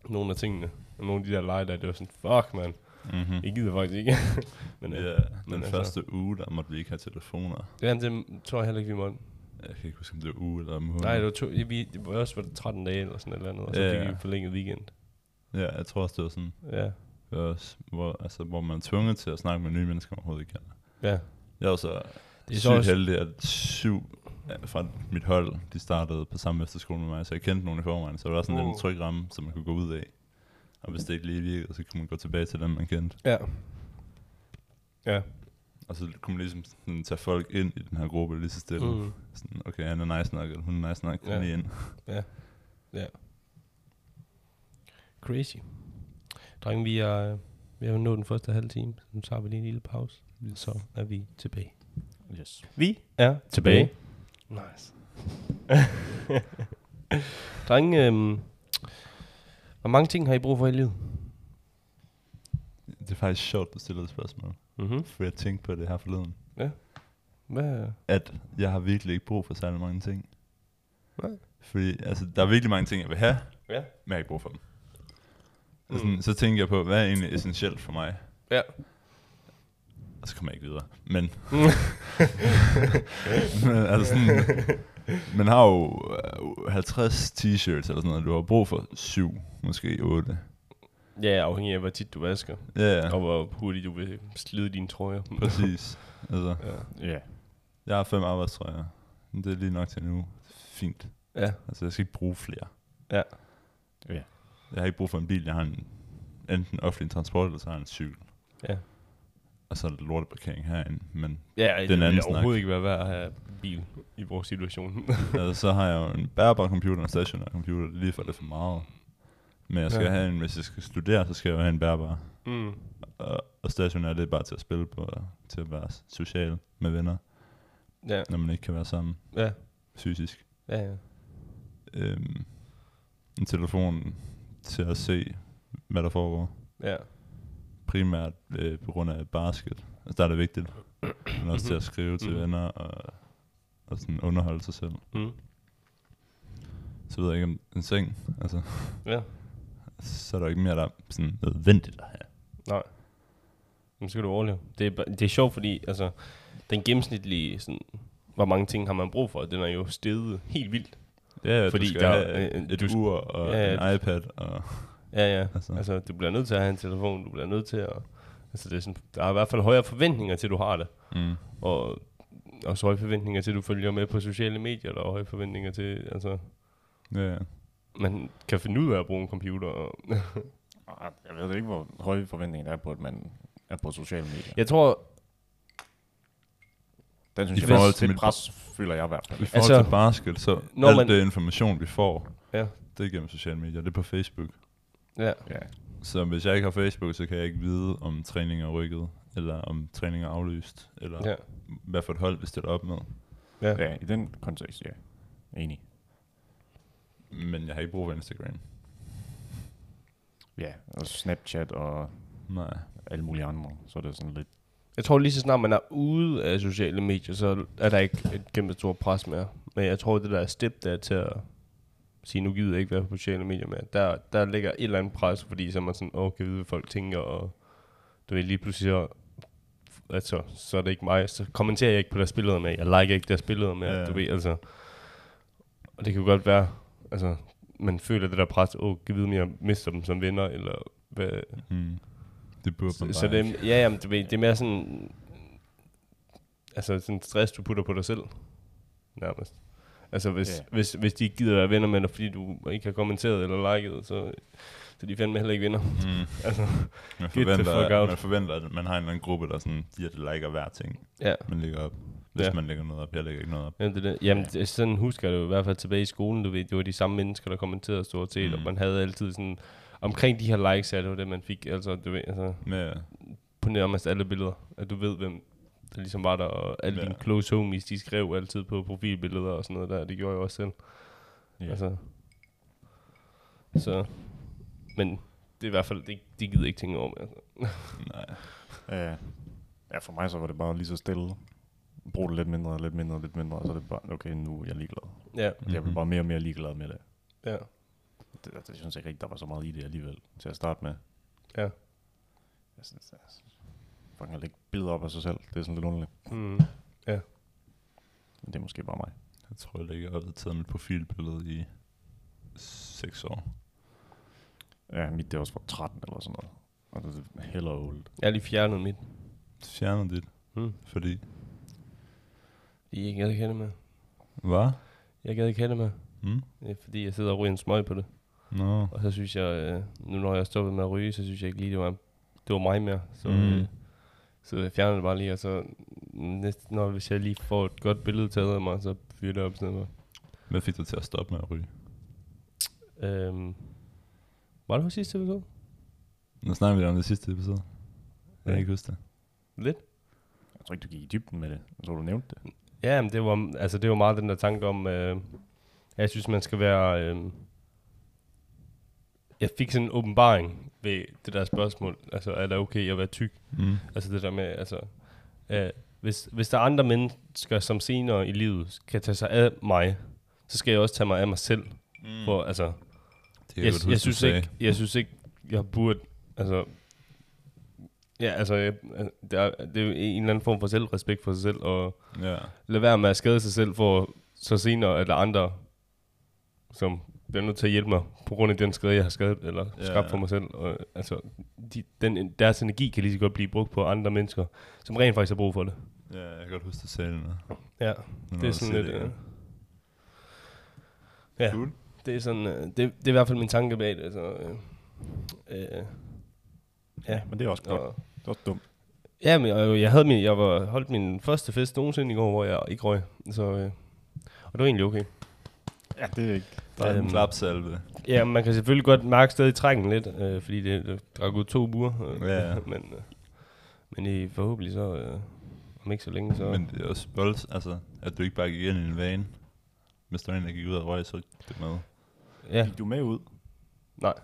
Speaker 2: nogle af tingene, og nogle af de der lege der, det var sådan, fuck, man.
Speaker 3: Mm-hmm.
Speaker 2: Jeg gider faktisk ikke. [laughs] Men øh,
Speaker 3: Ja,
Speaker 2: men
Speaker 3: den
Speaker 2: altså-
Speaker 3: første uge, der måtte vi ikke have telefoner.
Speaker 2: ja, det tror jeg heller ikke, vi måtte.
Speaker 3: Jeg kan ikke huske, om det var uge eller måned.
Speaker 2: Nej, det var, to, ja, vi, det var også var det 13 dage eller sådan et eller andet, og så
Speaker 3: Ja,
Speaker 2: fik
Speaker 3: ja.
Speaker 2: vi forlænget weekend.
Speaker 3: Ja, jeg tror også, det var sådan.
Speaker 2: Ja,
Speaker 3: Det var også, hvor, altså, hvor man er tvunget til at snakke med nye mennesker, man overhovedet ikke kender.
Speaker 2: ja.
Speaker 3: Jeg var så
Speaker 2: Det er så
Speaker 3: sygt
Speaker 2: også-
Speaker 3: heldig, at syv af- fra mit hold, de startede på samme efterskole med mig, så jeg kendte nogen i forvejen, så det var sådan lidt
Speaker 2: Wow.
Speaker 3: en tryg ramme, som man kunne gå ud af. Og hvis det ikke lige virkede, så kunne man gå tilbage til dem, man kendte.
Speaker 2: Ja. Ja.
Speaker 3: Og så kunne man ligesom sådan, tage folk ind i den her gruppe lige så stille. Mm.
Speaker 2: Mm.
Speaker 3: Sådan, okay, han er nice nok, eller hun er nice nok, kom
Speaker 2: Ja.
Speaker 3: ja. lige ind.
Speaker 2: Crazy. Drenge, vi er, vi har nået den første halve time, så nu tager vi lige en lille pause, så er vi tilbage.
Speaker 4: Yes.
Speaker 2: Vi er tilbage. Nice. [laughs] Drenge, øhm, hvor mange ting har I brug for i livet?
Speaker 3: Det er faktisk sjovt, du stiller det spørgsmål,
Speaker 2: Mm-hmm.
Speaker 3: for jeg tænkte på det her forleden.
Speaker 2: Hvad?
Speaker 3: at jeg har virkelig ikke brug for særlig mange ting.
Speaker 2: Nej.
Speaker 3: Fordi altså, der er virkelig mange ting, jeg vil have, men
Speaker 2: Ja.
Speaker 3: jeg har ikke brug for dem.
Speaker 2: Mm.
Speaker 3: Mm. Sådan, så tænker jeg på, hvad er egentlig essentielt for mig?
Speaker 2: Ja.
Speaker 3: Og så kommer jeg ikke videre. Men, men altså sådan, man har jo øh, 50 t-shirts eller sådan noget, du har brug for syv, måske otte.
Speaker 2: Ja, afhængig af, hvor tit du vasker,
Speaker 3: Ja, ja,
Speaker 2: ja. og hvor hurtigt du vil slide dine trøjer. [laughs]
Speaker 3: præcis. Altså,
Speaker 2: ja.
Speaker 4: Ja.
Speaker 3: jeg har fem arbejdstrøjer. Men Det er lige nok til nu. Fint.
Speaker 2: ja.
Speaker 3: Altså, jeg skal ikke bruge flere.
Speaker 2: Ja.
Speaker 4: Ja.
Speaker 3: Jeg har ikke brug for en bil. Jeg har en, enten offentlig transport, eller så har jeg en cykel.
Speaker 2: Ja.
Speaker 3: Og så er der lorteparkering herinde. Men [laughs]
Speaker 2: Ja, det
Speaker 3: Den
Speaker 2: vil
Speaker 3: anden
Speaker 2: overhovedet ikke være værd at have bil i vores situation. [laughs]
Speaker 3: altså, så har jeg jo en bærbar computer og en stationær computer. Det er Lige for det er for meget. Men jeg skal
Speaker 2: Ja.
Speaker 3: ja. have en, hvis jeg skal studere, så skal jeg jo have en bærbar.
Speaker 2: mm.
Speaker 3: Og, og stationær, det er bare til at spille på, og til at være social med venner,
Speaker 2: Ja,
Speaker 3: når man ikke kan være sammen
Speaker 2: ja,
Speaker 3: fysisk.
Speaker 2: ja, ja.
Speaker 3: øhm, en telefon til at se, hvad der foregår.
Speaker 2: ja.
Speaker 3: Primært øh, på grund af basket. Altså, der er det vigtigt. Men også til at skrive til
Speaker 2: Mhm.
Speaker 3: venner og, og sådan underholde sig selv.
Speaker 2: Mm.
Speaker 3: Så ved jeg ikke om en seng. Altså,
Speaker 2: ja.
Speaker 3: så er der ikke mere, der er sådan nødvendigt at have.
Speaker 2: Nej. Men så kan du overleve. Det er, ba- det er sjovt, fordi altså, den gennemsnitlige, sådan, hvor mange ting har man brug for, den er jo steget helt vildt.
Speaker 3: Ja,
Speaker 2: Fordi
Speaker 3: Fordi du skal
Speaker 2: der er-
Speaker 3: have
Speaker 2: øh,
Speaker 3: et
Speaker 2: du-
Speaker 3: ur og
Speaker 2: Ja, ja,
Speaker 3: en iPad. Og,
Speaker 2: Ja, ja. Altså.
Speaker 3: Altså.
Speaker 2: altså, du bliver nødt til at have en telefon, du bliver nødt til at... Altså, det er sådan, der er i hvert fald højere forventninger til, at du har det.
Speaker 3: mm.
Speaker 2: Og også høje forventninger til, at du følger med på sociale medier, der er høje forventninger til, altså...
Speaker 3: ja, ja.
Speaker 2: Man kan finde ud af at bruge en computer. Og
Speaker 4: Ah, Jeg ved ikke, hvor høje forventninger der er på, at man er på sociale medier.
Speaker 2: jeg tror,
Speaker 4: Den
Speaker 3: I
Speaker 4: synes jeg,
Speaker 3: forhold
Speaker 4: forhold
Speaker 3: til
Speaker 4: til
Speaker 3: mit-
Speaker 4: pres, føler jeg i hvert fald.
Speaker 3: I forhold altså,
Speaker 2: Altså,
Speaker 3: til basket, så
Speaker 2: når
Speaker 3: når alt
Speaker 2: man-
Speaker 3: man, det information, vi får,
Speaker 2: Ja.
Speaker 3: det er gennem sociale medier. Det er på Facebook.
Speaker 2: ja,
Speaker 4: Ja.
Speaker 3: Så hvis jeg ikke har Facebook, så kan jeg ikke vide, om træning er rykket, eller om træning er aflyst, eller ja.
Speaker 2: ja,
Speaker 3: hvad for et hold vi stiller op med.
Speaker 2: ja,
Speaker 4: ja, i den kontekst, ja. Enig.
Speaker 3: Men jeg har ikke brug for Instagram.
Speaker 4: Ja, og Snapchat og
Speaker 3: Nej.
Speaker 4: alle mulige andre, så er det sådan lidt...
Speaker 2: Jeg tror lige så snart man er ude af sociale medier, så er der ikke et kæmpe stort pres mere. Men jeg tror, det der er step, der er til at sige, nu gider jeg ikke være på sociale medier mere. Der, der ligger et eller andet pres, fordi så er man sådan, åh, kan jeg vide, hvad folk tænker, og du ved lige pludselig, så, altså, så er det ikke mig, så kommenterer jeg ikke på deres billeder mere, jeg liker ikke deres billeder mere,
Speaker 3: Ja.
Speaker 2: ja. du ved, altså. Og det kan jo godt være, altså, man føler det der pres, åh, kan jeg vide, om jeg mister dem som venner, eller hvad,
Speaker 3: Hmm. Det burde man
Speaker 2: så,
Speaker 3: bare
Speaker 2: så
Speaker 3: ikke.
Speaker 2: det, er- ja, jamen, det, ved- det er mere sådan, altså sådan stress, du putter på dig selv, nærmest. Altså, hvis,
Speaker 4: Ja.
Speaker 2: yeah. hvis, hvis de ikke gider være venner med dig, fordi du ikke har kommenteret eller liket, så, så de fandme heller ikke venner.
Speaker 3: Mm.
Speaker 2: Altså,
Speaker 3: Man,
Speaker 2: the
Speaker 3: forventer,
Speaker 2: fuck out.
Speaker 3: man forventer, at man har en eller anden gruppe, der sådan, de at liker hver ting,
Speaker 2: ja.
Speaker 3: man lægger op. Hvis
Speaker 2: Ja.
Speaker 3: ja. man lægger noget op, jeg lægger ikke noget op.
Speaker 2: Jamen, det, er det. Jamen det, er sådan husker jeg det jo i hvert fald tilbage i skolen, du ved, det var de samme mennesker, der kommenterede stort set, mm. og
Speaker 3: Mm.
Speaker 2: man havde altid sådan, omkring de her likes, ja, det var det, man fik, altså, du ved, altså,
Speaker 3: Ja,
Speaker 2: på nærmest alle billeder, at du ved, hvem der ligesom var der, og alle ja.
Speaker 3: Ja.
Speaker 2: dine close homies, de skrev altid på profilbilleder og sådan noget der, det gjorde jeg også selv.
Speaker 4: Ja.
Speaker 2: Yeah. Altså, så, men det er i hvert fald, det, det gider jeg ikke tænke over mere. Altså.
Speaker 3: nej.
Speaker 4: Øh, ja, for mig så var det bare lige så stille. Brug det lidt mindre, lidt mindre, lidt mindre, og så er det bare, okay, nu er jeg ligeglad.
Speaker 2: Ja,
Speaker 4: Mm-hmm. Jeg blev bare mere og mere ligeglad med det.
Speaker 2: ja,
Speaker 4: Det, det, det synes jeg ikke, rigtig, der var så meget i det alligevel, til at starte med.
Speaker 2: ja.
Speaker 4: Jeg synes, altså, fucking at lægge billeder op af sig selv, det er sådan lidt underligt.
Speaker 2: Mm.
Speaker 4: Men det er måske bare mig.
Speaker 3: Jeg tror, jeg lægger opdateret mit profilbillede i 6 år.
Speaker 4: Ja, mit det er også fra 13 eller sådan noget. Og det er heller old.
Speaker 2: Jeg har lige fjernet mit.
Speaker 3: Fjernet dit,
Speaker 2: Mm.
Speaker 3: fordi...
Speaker 2: Fordi jeg gad ikke have det med.
Speaker 3: Hvad?
Speaker 2: Jeg gad ikke have det med.
Speaker 3: Mm?
Speaker 2: Det er fordi jeg sidder og ryger en smøg på det.
Speaker 3: Nå.
Speaker 2: Og så synes jeg, øh, nu når jeg stoppede med at ryge, så synes jeg ikke lige, det var, det var mig mere. Så, mm.
Speaker 3: Mm.
Speaker 2: øh, så jeg fjernede det bare lige, og så næste, når, hvis jeg lige får et godt billede taget af mig, så fyrer det op sådan noget.
Speaker 3: Hvad fik dig til at stoppe med at ryge?
Speaker 2: Øhm, var det på sidste episode?
Speaker 3: Nu snakker vi om det sidste episode. Jeg
Speaker 2: Ja.
Speaker 3: kan ikke huske det.
Speaker 2: Lidt?
Speaker 4: Jeg tror ikke, du gik i dybden med det. Jeg tror, du nævnte det.
Speaker 2: Ja, men det var, altså, det var meget den der tanke om, øh, jeg synes, man skal være... Øh, jeg fik sådan en åbenbaring ved det der spørgsmål. Altså, er det okay at være tyk?
Speaker 3: Mm.
Speaker 2: Altså det der med, altså, øh, hvis, hvis der er andre mennesker, som senere i livet kan tage sig af mig, så skal jeg også tage mig af mig selv. Mm. For, altså,
Speaker 3: Det
Speaker 2: jeg, jeg, synes ikke, jeg synes ikke, jeg burde, altså, Ja, altså, jeg, der, er- det er jo en eller anden form for selvrespekt for sig selv, og
Speaker 3: Ja.
Speaker 2: lade være med at skade sig selv, for så senere, at der er andre, som bliver nødt til at hjælpe mig, på grund af den skade, jeg har skadet, eller
Speaker 3: Ja,
Speaker 2: skabt for
Speaker 3: ja.
Speaker 2: mig selv. Og, altså, de, den, deres energi kan lige så godt blive brugt på andre mennesker, som rent faktisk har brug for det.
Speaker 3: ja, jeg kan godt huske, du sagde det.
Speaker 2: Ja, det er sådan lidt... Øh, ja,
Speaker 3: Cool.
Speaker 2: det er sådan... Øh, det, det er i hvert fald min tanke bag det, så... Øh, øh, ja,
Speaker 4: Men det er også godt.
Speaker 2: og,
Speaker 4: Det er også dumt.
Speaker 2: Ja, men jeg, jeg, havde min, jeg var, holdt min første fest nogensinde i går, hvor jeg ikke røg. Så, øh, og det var egentlig okay.
Speaker 4: Ja, det er ikke...
Speaker 3: Bare
Speaker 2: Øhm.
Speaker 3: en klapsalve.
Speaker 2: Ja, man kan selvfølgelig godt mærke stadig trækken lidt, øh, fordi det, det drak ud to buer. Øh,
Speaker 3: Ja, ja.
Speaker 2: [laughs] Men, øh, men i, forhåbentlig så, øh, om ikke så længe, så...
Speaker 3: Men det er også bold, altså, at du ikke bare gik ind i en vane. Hvis der var en, der gik ud og røg, så gik det med.
Speaker 2: ja,
Speaker 4: Gik du med ud?
Speaker 2: Nej.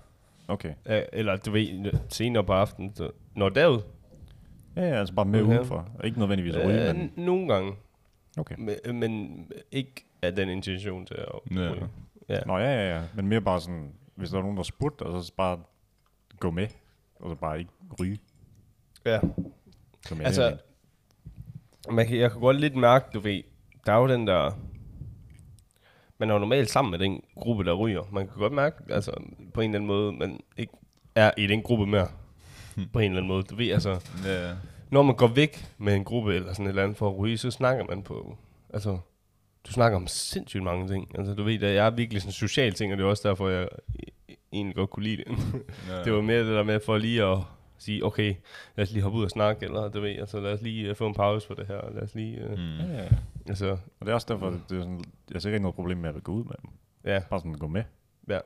Speaker 4: Okay.
Speaker 2: ja, eller du ved, øh, senere på aftenen, så... Når derud?
Speaker 4: Ja, ja, altså bare med
Speaker 2: Okay. Øh,
Speaker 4: okay. udenfor. Ikke nødvendigvis at ryge, men...
Speaker 2: n- nogle gange,
Speaker 4: Okay.
Speaker 2: men, men ikke af den intention til at
Speaker 3: Ja.
Speaker 2: ryge. Ja.
Speaker 4: Nå, ja, ja, ja. Men mere bare sådan, hvis der er nogen, der spurgte, og så bare gå med, og så bare ikke ryge,
Speaker 2: ja.
Speaker 4: som jeg
Speaker 2: Altså,
Speaker 4: mente.
Speaker 2: man kan, jeg kan godt lidt mærke, du ved, der er jo den der, man er jo normalt sammen med den gruppe, der ryger. Man kan godt mærke, altså på en eller anden måde, man ikke er i den gruppe mere. På en eller anden måde. Du ved, altså,
Speaker 3: Ja, ja.
Speaker 2: når man går væk med en gruppe eller sådan et eller andet for at ryge, så snakker man på, altså, du snakker om sindssygt mange ting. Altså, du ved, at jeg er virkelig sådan en social ting, og det er også derfor, jeg egentlig godt kunne lide det. [laughs]
Speaker 3: ja.
Speaker 2: Det var mere det der med for lige at sige, okay, lad os lige hoppe ud og snakke, eller du ved, altså lad os lige øh, få en pause for det her, og lad os lige, øh, mm.
Speaker 3: Mm.
Speaker 4: Ja, ja, ja.
Speaker 2: altså,
Speaker 4: Og det er også derfor, det er sådan, jeg ser ikke noget problem med at gå ud med dem.
Speaker 2: ja,
Speaker 4: Bare sådan gå med.
Speaker 2: ja,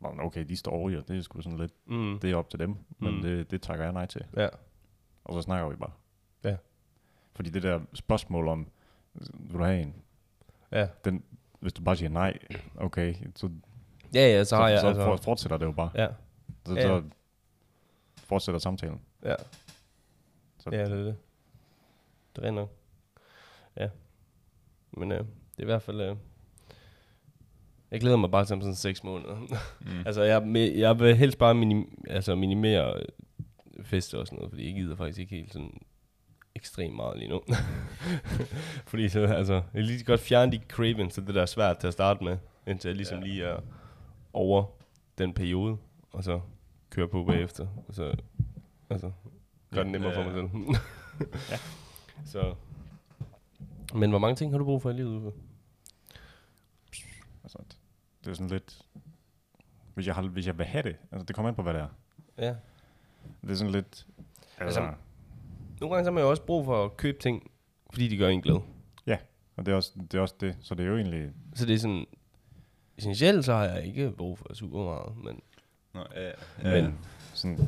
Speaker 4: Nå, men okay, de står over og det er sgu sådan lidt,
Speaker 2: mm,
Speaker 4: det er op til dem, men
Speaker 2: Mm.
Speaker 4: det, det takker jeg nej til.
Speaker 2: ja,
Speaker 4: Og så snakker vi bare.
Speaker 2: Ja.
Speaker 4: Fordi det der spørgsmål om, vil du have en?
Speaker 2: ja.
Speaker 4: Den, hvis du bare siger nej, okay, så,
Speaker 2: Ja, ja, så
Speaker 4: så,
Speaker 2: har jeg,
Speaker 4: så
Speaker 2: altså,
Speaker 4: for- fortsætter det jo bare.
Speaker 2: ja,
Speaker 4: Så,
Speaker 2: Ja, ja.
Speaker 4: så fortsætter samtalen.
Speaker 2: ja,
Speaker 4: Så-
Speaker 2: ja, det er det. Det render. Ja. Men øh, det er i hvert fald, øh, jeg glæder mig bare til om sådan seks måneder.
Speaker 3: Mm.
Speaker 2: [laughs] altså, jeg, me- jeg vil helst bare minim, altså, minimere øh, fester og sådan noget, fordi jeg gider faktisk ikke helt sådan ekstremt meget lige nu. [laughs] fordi så, altså, jeg kan lige så godt fjerne de cravings, så det der er svært til at starte med, indtil jeg ligesom ja. lige er over den periode, og så kører på bagefter, og så altså, gør det nemmere
Speaker 3: Ja.
Speaker 2: for mig selv. [laughs] ja. Så. Men hvor mange ting har du brug for i livet, Uffe?
Speaker 4: Altså, det- det er sådan lidt... Hvis jeg, har, hvis jeg vil have det, altså det kommer an på, hvad det er.
Speaker 2: Ja.
Speaker 4: Det er sådan lidt... Altså,
Speaker 2: Altså- Nogle gange så har man jo også brug for at købe ting, fordi de gør en glad.
Speaker 4: og det er, også, det er også det, så det er jo egentlig...
Speaker 2: Så det er sådan, essentielt så har jeg ikke brug for super meget, men,
Speaker 3: Nå, ja, ja.
Speaker 4: Men,
Speaker 3: Men.
Speaker 4: Sådan,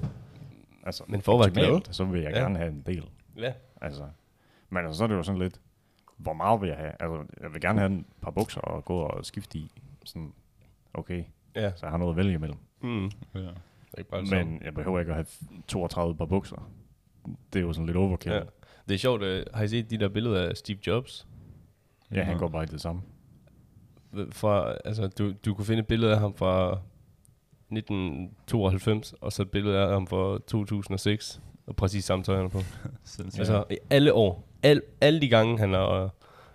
Speaker 4: altså,
Speaker 2: men for at være glad.
Speaker 4: optimalt, så vil jeg
Speaker 2: Ja.
Speaker 4: gerne have en del.
Speaker 2: Ja.
Speaker 4: Altså, men altså, så er det jo sådan lidt, hvor meget vil jeg have? Altså, jeg vil gerne have en par bukser og gå og skifte i. Sådan, okay,
Speaker 2: Ja. Altså.
Speaker 4: så jeg har noget at vælge imellem.
Speaker 2: Mm.
Speaker 3: ja.
Speaker 2: Ikke bare men,
Speaker 4: Men jeg behøver ikke at have 32 par bukser. Det er jo sådan lidt overkill.
Speaker 2: ja.
Speaker 4: Ja,
Speaker 2: Det er sjovt, øh, har I set de der billeder af Steve Jobs?
Speaker 4: ja han
Speaker 3: Nå.
Speaker 4: går bare i det samme.
Speaker 2: Øh, Fra, altså, du, du kunne finde et billede af ham fra 1992, og så et billede af ham fra 2006, og præcis samme tøj, han er på. Ja.
Speaker 3: Sindssygt.
Speaker 2: Altså, i alle år. Al, alle de gange, han har øh,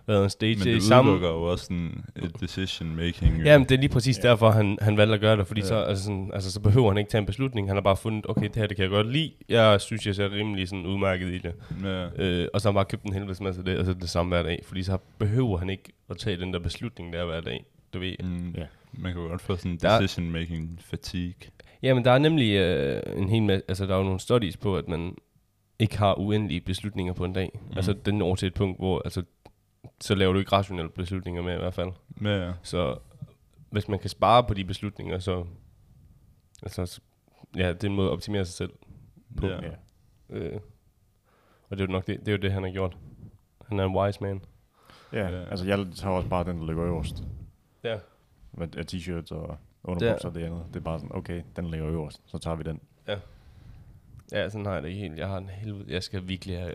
Speaker 2: været en stage
Speaker 3: Men
Speaker 2: i
Speaker 3: det
Speaker 2: samme...
Speaker 3: udelukker jo også sådan et decision making.
Speaker 2: Ja, men det er lige præcis
Speaker 4: Ja.
Speaker 2: derfor, han, han valgte at gøre det, fordi
Speaker 3: Ja.
Speaker 2: så, altså sådan, altså, så behøver han ikke tage en beslutning. Han har bare fundet, okay, det her det kan jeg godt lide. Jeg synes, jeg ser rimelig sådan udmærket i det.
Speaker 3: ja.
Speaker 2: Øh, og så har han bare købt en helvedes masse af det, og så er det det samme hver dag. Fordi så behøver han ikke at tage den der beslutning der hver dag. Du ved.
Speaker 3: Mm,
Speaker 4: Ja.
Speaker 3: Man kan jo godt få sådan en
Speaker 2: Der-
Speaker 3: decision making fatigue.
Speaker 2: Jamen, der er nemlig øh, en hel masse, altså der er jo nogle studies på, at man ikke har uendelige beslutninger på en dag. Mm. Altså den når til et punkt, hvor altså, så laver du ikke rationelle beslutninger med i hvert fald.
Speaker 3: Ja, ja.
Speaker 2: Så hvis man kan spare på de beslutninger, så... Altså, s- ja, det er en måde at optimere sig selv. På.
Speaker 3: ja.
Speaker 4: Ja.
Speaker 2: Øh, og det er jo nok det, det, er jo det, han har gjort. Han er en wise man.
Speaker 4: Ja,
Speaker 3: Ja.
Speaker 4: ja, altså jeg tager også bare den, der ligger øverst.
Speaker 2: Ja.
Speaker 4: Med af t-shirts og underbukser
Speaker 2: Ja.
Speaker 4: og det andet. Det er bare sådan, okay, den ligger øverst, så tager vi den.
Speaker 2: Ja, sådan har jeg det ikke helt. Jeg har en helvede... Jeg skal virkelig have...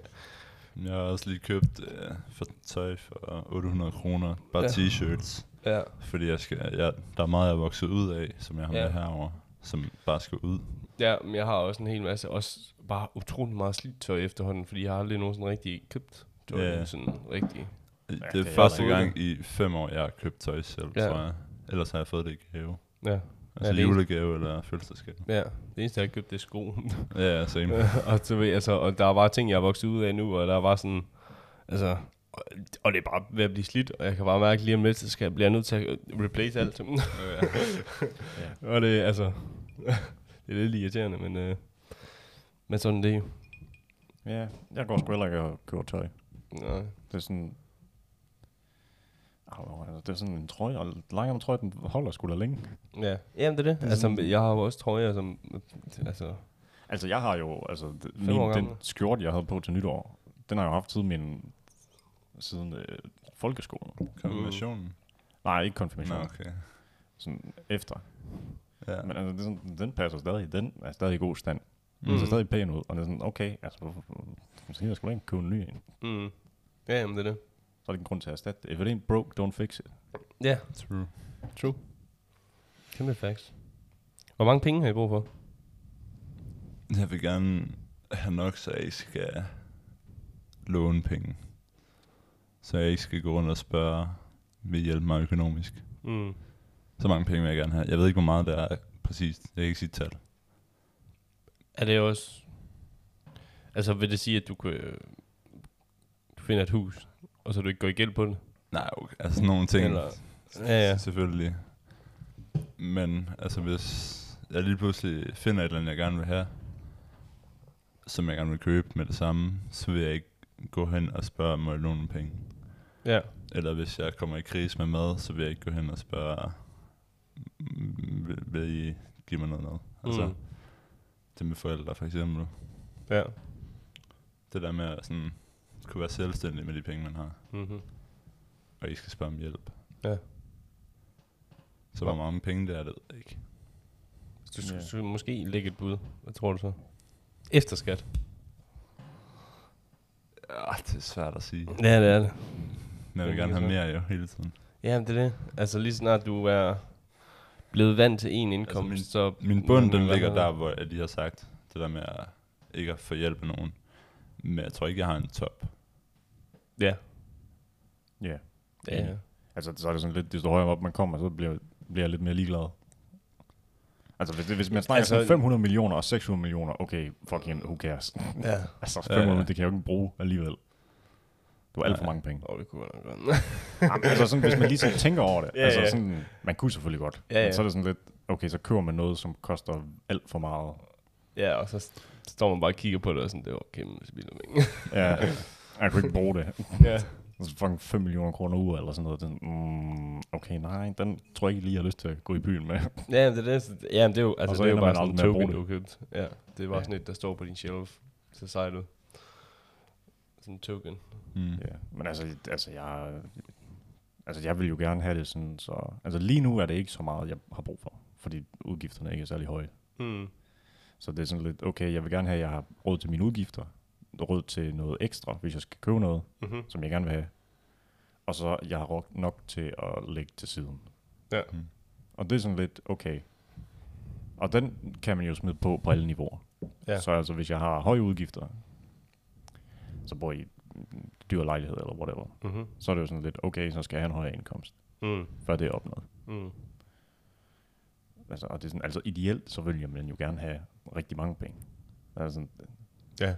Speaker 3: Jeg har også lige købt øh, for tøj for 800 kroner. Bare
Speaker 2: Ja.
Speaker 3: ja. t-shirts.
Speaker 2: Ja.
Speaker 3: Fordi jeg skal, jeg, der er meget, jeg er vokset ud af, som jeg har
Speaker 2: Ja.
Speaker 3: med herover, som bare skal ud.
Speaker 2: Ja, men jeg har også en hel masse, også bare utrolig meget slidt tøj efterhånden, fordi jeg har aldrig nogensinde rigtig købt tøj.
Speaker 3: Ja.
Speaker 2: Yeah. Sådan rigtig.
Speaker 3: Det er
Speaker 4: det er
Speaker 3: første
Speaker 2: heller
Speaker 3: gang i fem år, jeg har købt tøj selv,
Speaker 2: Ja.
Speaker 3: ja. tror jeg. Ellers har jeg fået det i gave.
Speaker 2: Ja.
Speaker 3: Altså
Speaker 2: det
Speaker 3: ja,
Speaker 2: er-
Speaker 3: julegave eller fødselsdagsgave.
Speaker 2: ja. Det eneste, jeg har købt, det er sko. [laughs]
Speaker 3: Ja, same.
Speaker 2: og, så ved, altså, og der er bare ting, jeg er vokset ud af nu, og der er bare sådan... Altså, og- og det er bare ved at blive slidt, og jeg kan bare mærke lige om lidt, så skal jeg, bliver jeg nødt til at replace alt. [laughs] ja. Og det er altså... [laughs] det er lidt irriterende, men... Øh, men sådan er det jo.
Speaker 4: Ja, jeg går sgu heller ikke og køber tøj.
Speaker 2: Nej.
Speaker 4: Det er sådan... Au, altså, det er sådan en trøje, og lange om trøje, den holder sgu da længe.
Speaker 2: Ja. Jamen, det er det. Altså, jeg har jo også trøjer, som... Altså,
Speaker 4: Altså, jeg har jo, altså, d-
Speaker 2: Fem år
Speaker 4: min, den
Speaker 2: gammel.
Speaker 4: skjorte, jeg havde på til nytår, den har jeg jo haft siden min, siden øh, folkeskolen.
Speaker 2: [laughs]
Speaker 3: Kombinationen.
Speaker 4: Nej, ikke
Speaker 3: Nå,
Speaker 4: konfirmation,
Speaker 3: okay.
Speaker 4: sådan efter.
Speaker 3: Ja.
Speaker 4: Men altså, det er sådan, den passer stadig, den er stadig i god stand. Mm.
Speaker 2: Mm.
Speaker 4: Den ser stadig pæn ud, og det er sådan, okay, altså, hvorfor, måske jeg skulle ikke købe en ny en.
Speaker 2: mm. Ja, jamen, det er det.
Speaker 4: Så er det en grund til at erstatte det. If it ain't broke, don't fix it.
Speaker 2: Ja,
Speaker 3: True.
Speaker 2: true. Kæmpe facts. Hvor mange penge har I brug for?
Speaker 3: Jeg vil gerne have nok, så jeg ikke skal låne penge. Så jeg ikke skal gå rundt og spørge, vil I hjælpe mig økonomisk?
Speaker 2: Mm.
Speaker 3: Så mange penge vil jeg gerne have. Jeg ved ikke, hvor meget det er præcist. Jeg kan ikke sige et tal.
Speaker 2: Er det også... Altså, vil det sige, at du kan... Du finder et hus, og så du ikke går i gæld på det?
Speaker 3: Nej, okay. altså sådan nogle ting.
Speaker 2: Eller- Ja, ja.
Speaker 3: Selvfølgelig. Men altså, hvis jeg lige pludselig finder et eller andet, jeg gerne vil have, som jeg gerne vil købe med det samme, så vil jeg ikke gå hen og spørge, må jeg låne nogle penge?
Speaker 2: Ja.
Speaker 3: Eller hvis jeg kommer i krise med mad, så vil jeg ikke gå hen og spørge, "Mm, vil, vil I give mig noget mad? Altså,
Speaker 2: Mm.
Speaker 3: mm. til mine forældre for eksempel.
Speaker 2: Ja.
Speaker 3: Det der med at sådan, kunne være selvstændig med de penge, man har,
Speaker 2: Mm-hmm.
Speaker 3: og ikke skal spørge om hjælp.
Speaker 2: Ja.
Speaker 3: Så hvor mange penge det er, det ved jeg ikke.
Speaker 2: Du skulle
Speaker 4: Ja.
Speaker 2: yeah. måske lægge et bud. Hvad tror du så? Efter skat.
Speaker 3: Ja, det er svært at sige.
Speaker 2: Ja, det er det.
Speaker 3: Men jeg vil
Speaker 2: Det er
Speaker 3: gerne have
Speaker 2: så.
Speaker 3: mere jo, hele tiden.
Speaker 2: Ja, det er det. Altså, lige snart du er blevet vant til en indkomst,
Speaker 3: Altså, min-
Speaker 2: så... Mm.
Speaker 3: Min bund, den ligger der, hvor jeg lige har sagt, det der med at ikke at få hjælp af nogen. Men jeg tror ikke, jeg har en top.
Speaker 2: Ja.
Speaker 4: Ja. Yeah.
Speaker 2: Ja, ja.
Speaker 4: Altså, så er det sådan lidt, desto højere op man kommer, så bliver, bliver jeg lidt mere ligeglad. Altså, hvis, det, hvis man snakker
Speaker 2: Altså-
Speaker 4: altså, sådan 500 millioner og 600 millioner, okay, fucking, who cares? [laughs]
Speaker 2: ja.
Speaker 4: altså,
Speaker 3: Ja,
Speaker 4: 500,
Speaker 3: ja.
Speaker 4: ja, ja. det kan jeg jo ikke bruge alligevel. Det var alt for mange penge.
Speaker 2: Åh, det kunne godt [laughs] nok være.
Speaker 4: Jamen, altså, sådan, hvis man lige sådan tænker over det,
Speaker 2: Ja,
Speaker 4: ja, altså,
Speaker 2: ja.
Speaker 4: sådan, man kunne selvfølgelig godt,
Speaker 2: Ja,
Speaker 4: ja,
Speaker 2: ja.
Speaker 4: men så er det sådan lidt, okay, så køber man noget, som koster alt for meget.
Speaker 2: Ja, og så st- står man bare og kigger på det, og sådan, det var kæmpe spild af penge.
Speaker 4: Ja, jeg kunne ikke bruge det.
Speaker 2: [laughs]
Speaker 4: Uh,
Speaker 2: ja.
Speaker 4: Så fucking 5 millioner kroner ud eller sådan noget. Den, mm, okay, nej, den tror jeg ikke lige, jeg har lyst til at gå i byen med.
Speaker 2: ja, men det er det. så- Ja, men det er jo, altså,
Speaker 4: Og så
Speaker 2: det er jo
Speaker 4: ender
Speaker 2: bare
Speaker 4: man
Speaker 2: sådan en
Speaker 4: aldrig med at bruge
Speaker 2: token, du har købt. Ja, det er bare
Speaker 4: Ja.
Speaker 2: sådan et, der står på din shelf. Så sejt ud. Sådan en token.
Speaker 3: Mm.
Speaker 4: Ja, [laughs] men altså, altså jeg, altså, jeg vil jo gerne have det sådan, så... Altså, lige nu er det ikke så meget, jeg har brug for, fordi udgifterne ikke er særlig høje.
Speaker 2: Mm.
Speaker 4: Så det er sådan lidt, okay, jeg vil gerne have, at jeg har råd til mine udgifter, råd til noget ekstra, hvis jeg skal købe noget,
Speaker 2: Mm-hmm.
Speaker 4: som jeg gerne vil have. Og så jeg har råd nok til at lægge til siden.
Speaker 2: Ja.
Speaker 3: Mm.
Speaker 4: Og det er sådan lidt, okay. Og den kan man jo smide på på alle niveauer.
Speaker 2: Ja.
Speaker 4: Ja. Så altså, hvis jeg har høje udgifter, så bor jeg i en dyr lejlighed eller whatever,
Speaker 2: Mm-hmm.
Speaker 4: så er det jo sådan lidt, okay, så skal jeg have en højere indkomst,
Speaker 2: Mm.
Speaker 4: før det er opnået.
Speaker 2: Mm.
Speaker 4: Altså, og det er sådan, altså ideelt, så vil man jo gerne have rigtig mange penge. Altså, sådan,
Speaker 2: Ja.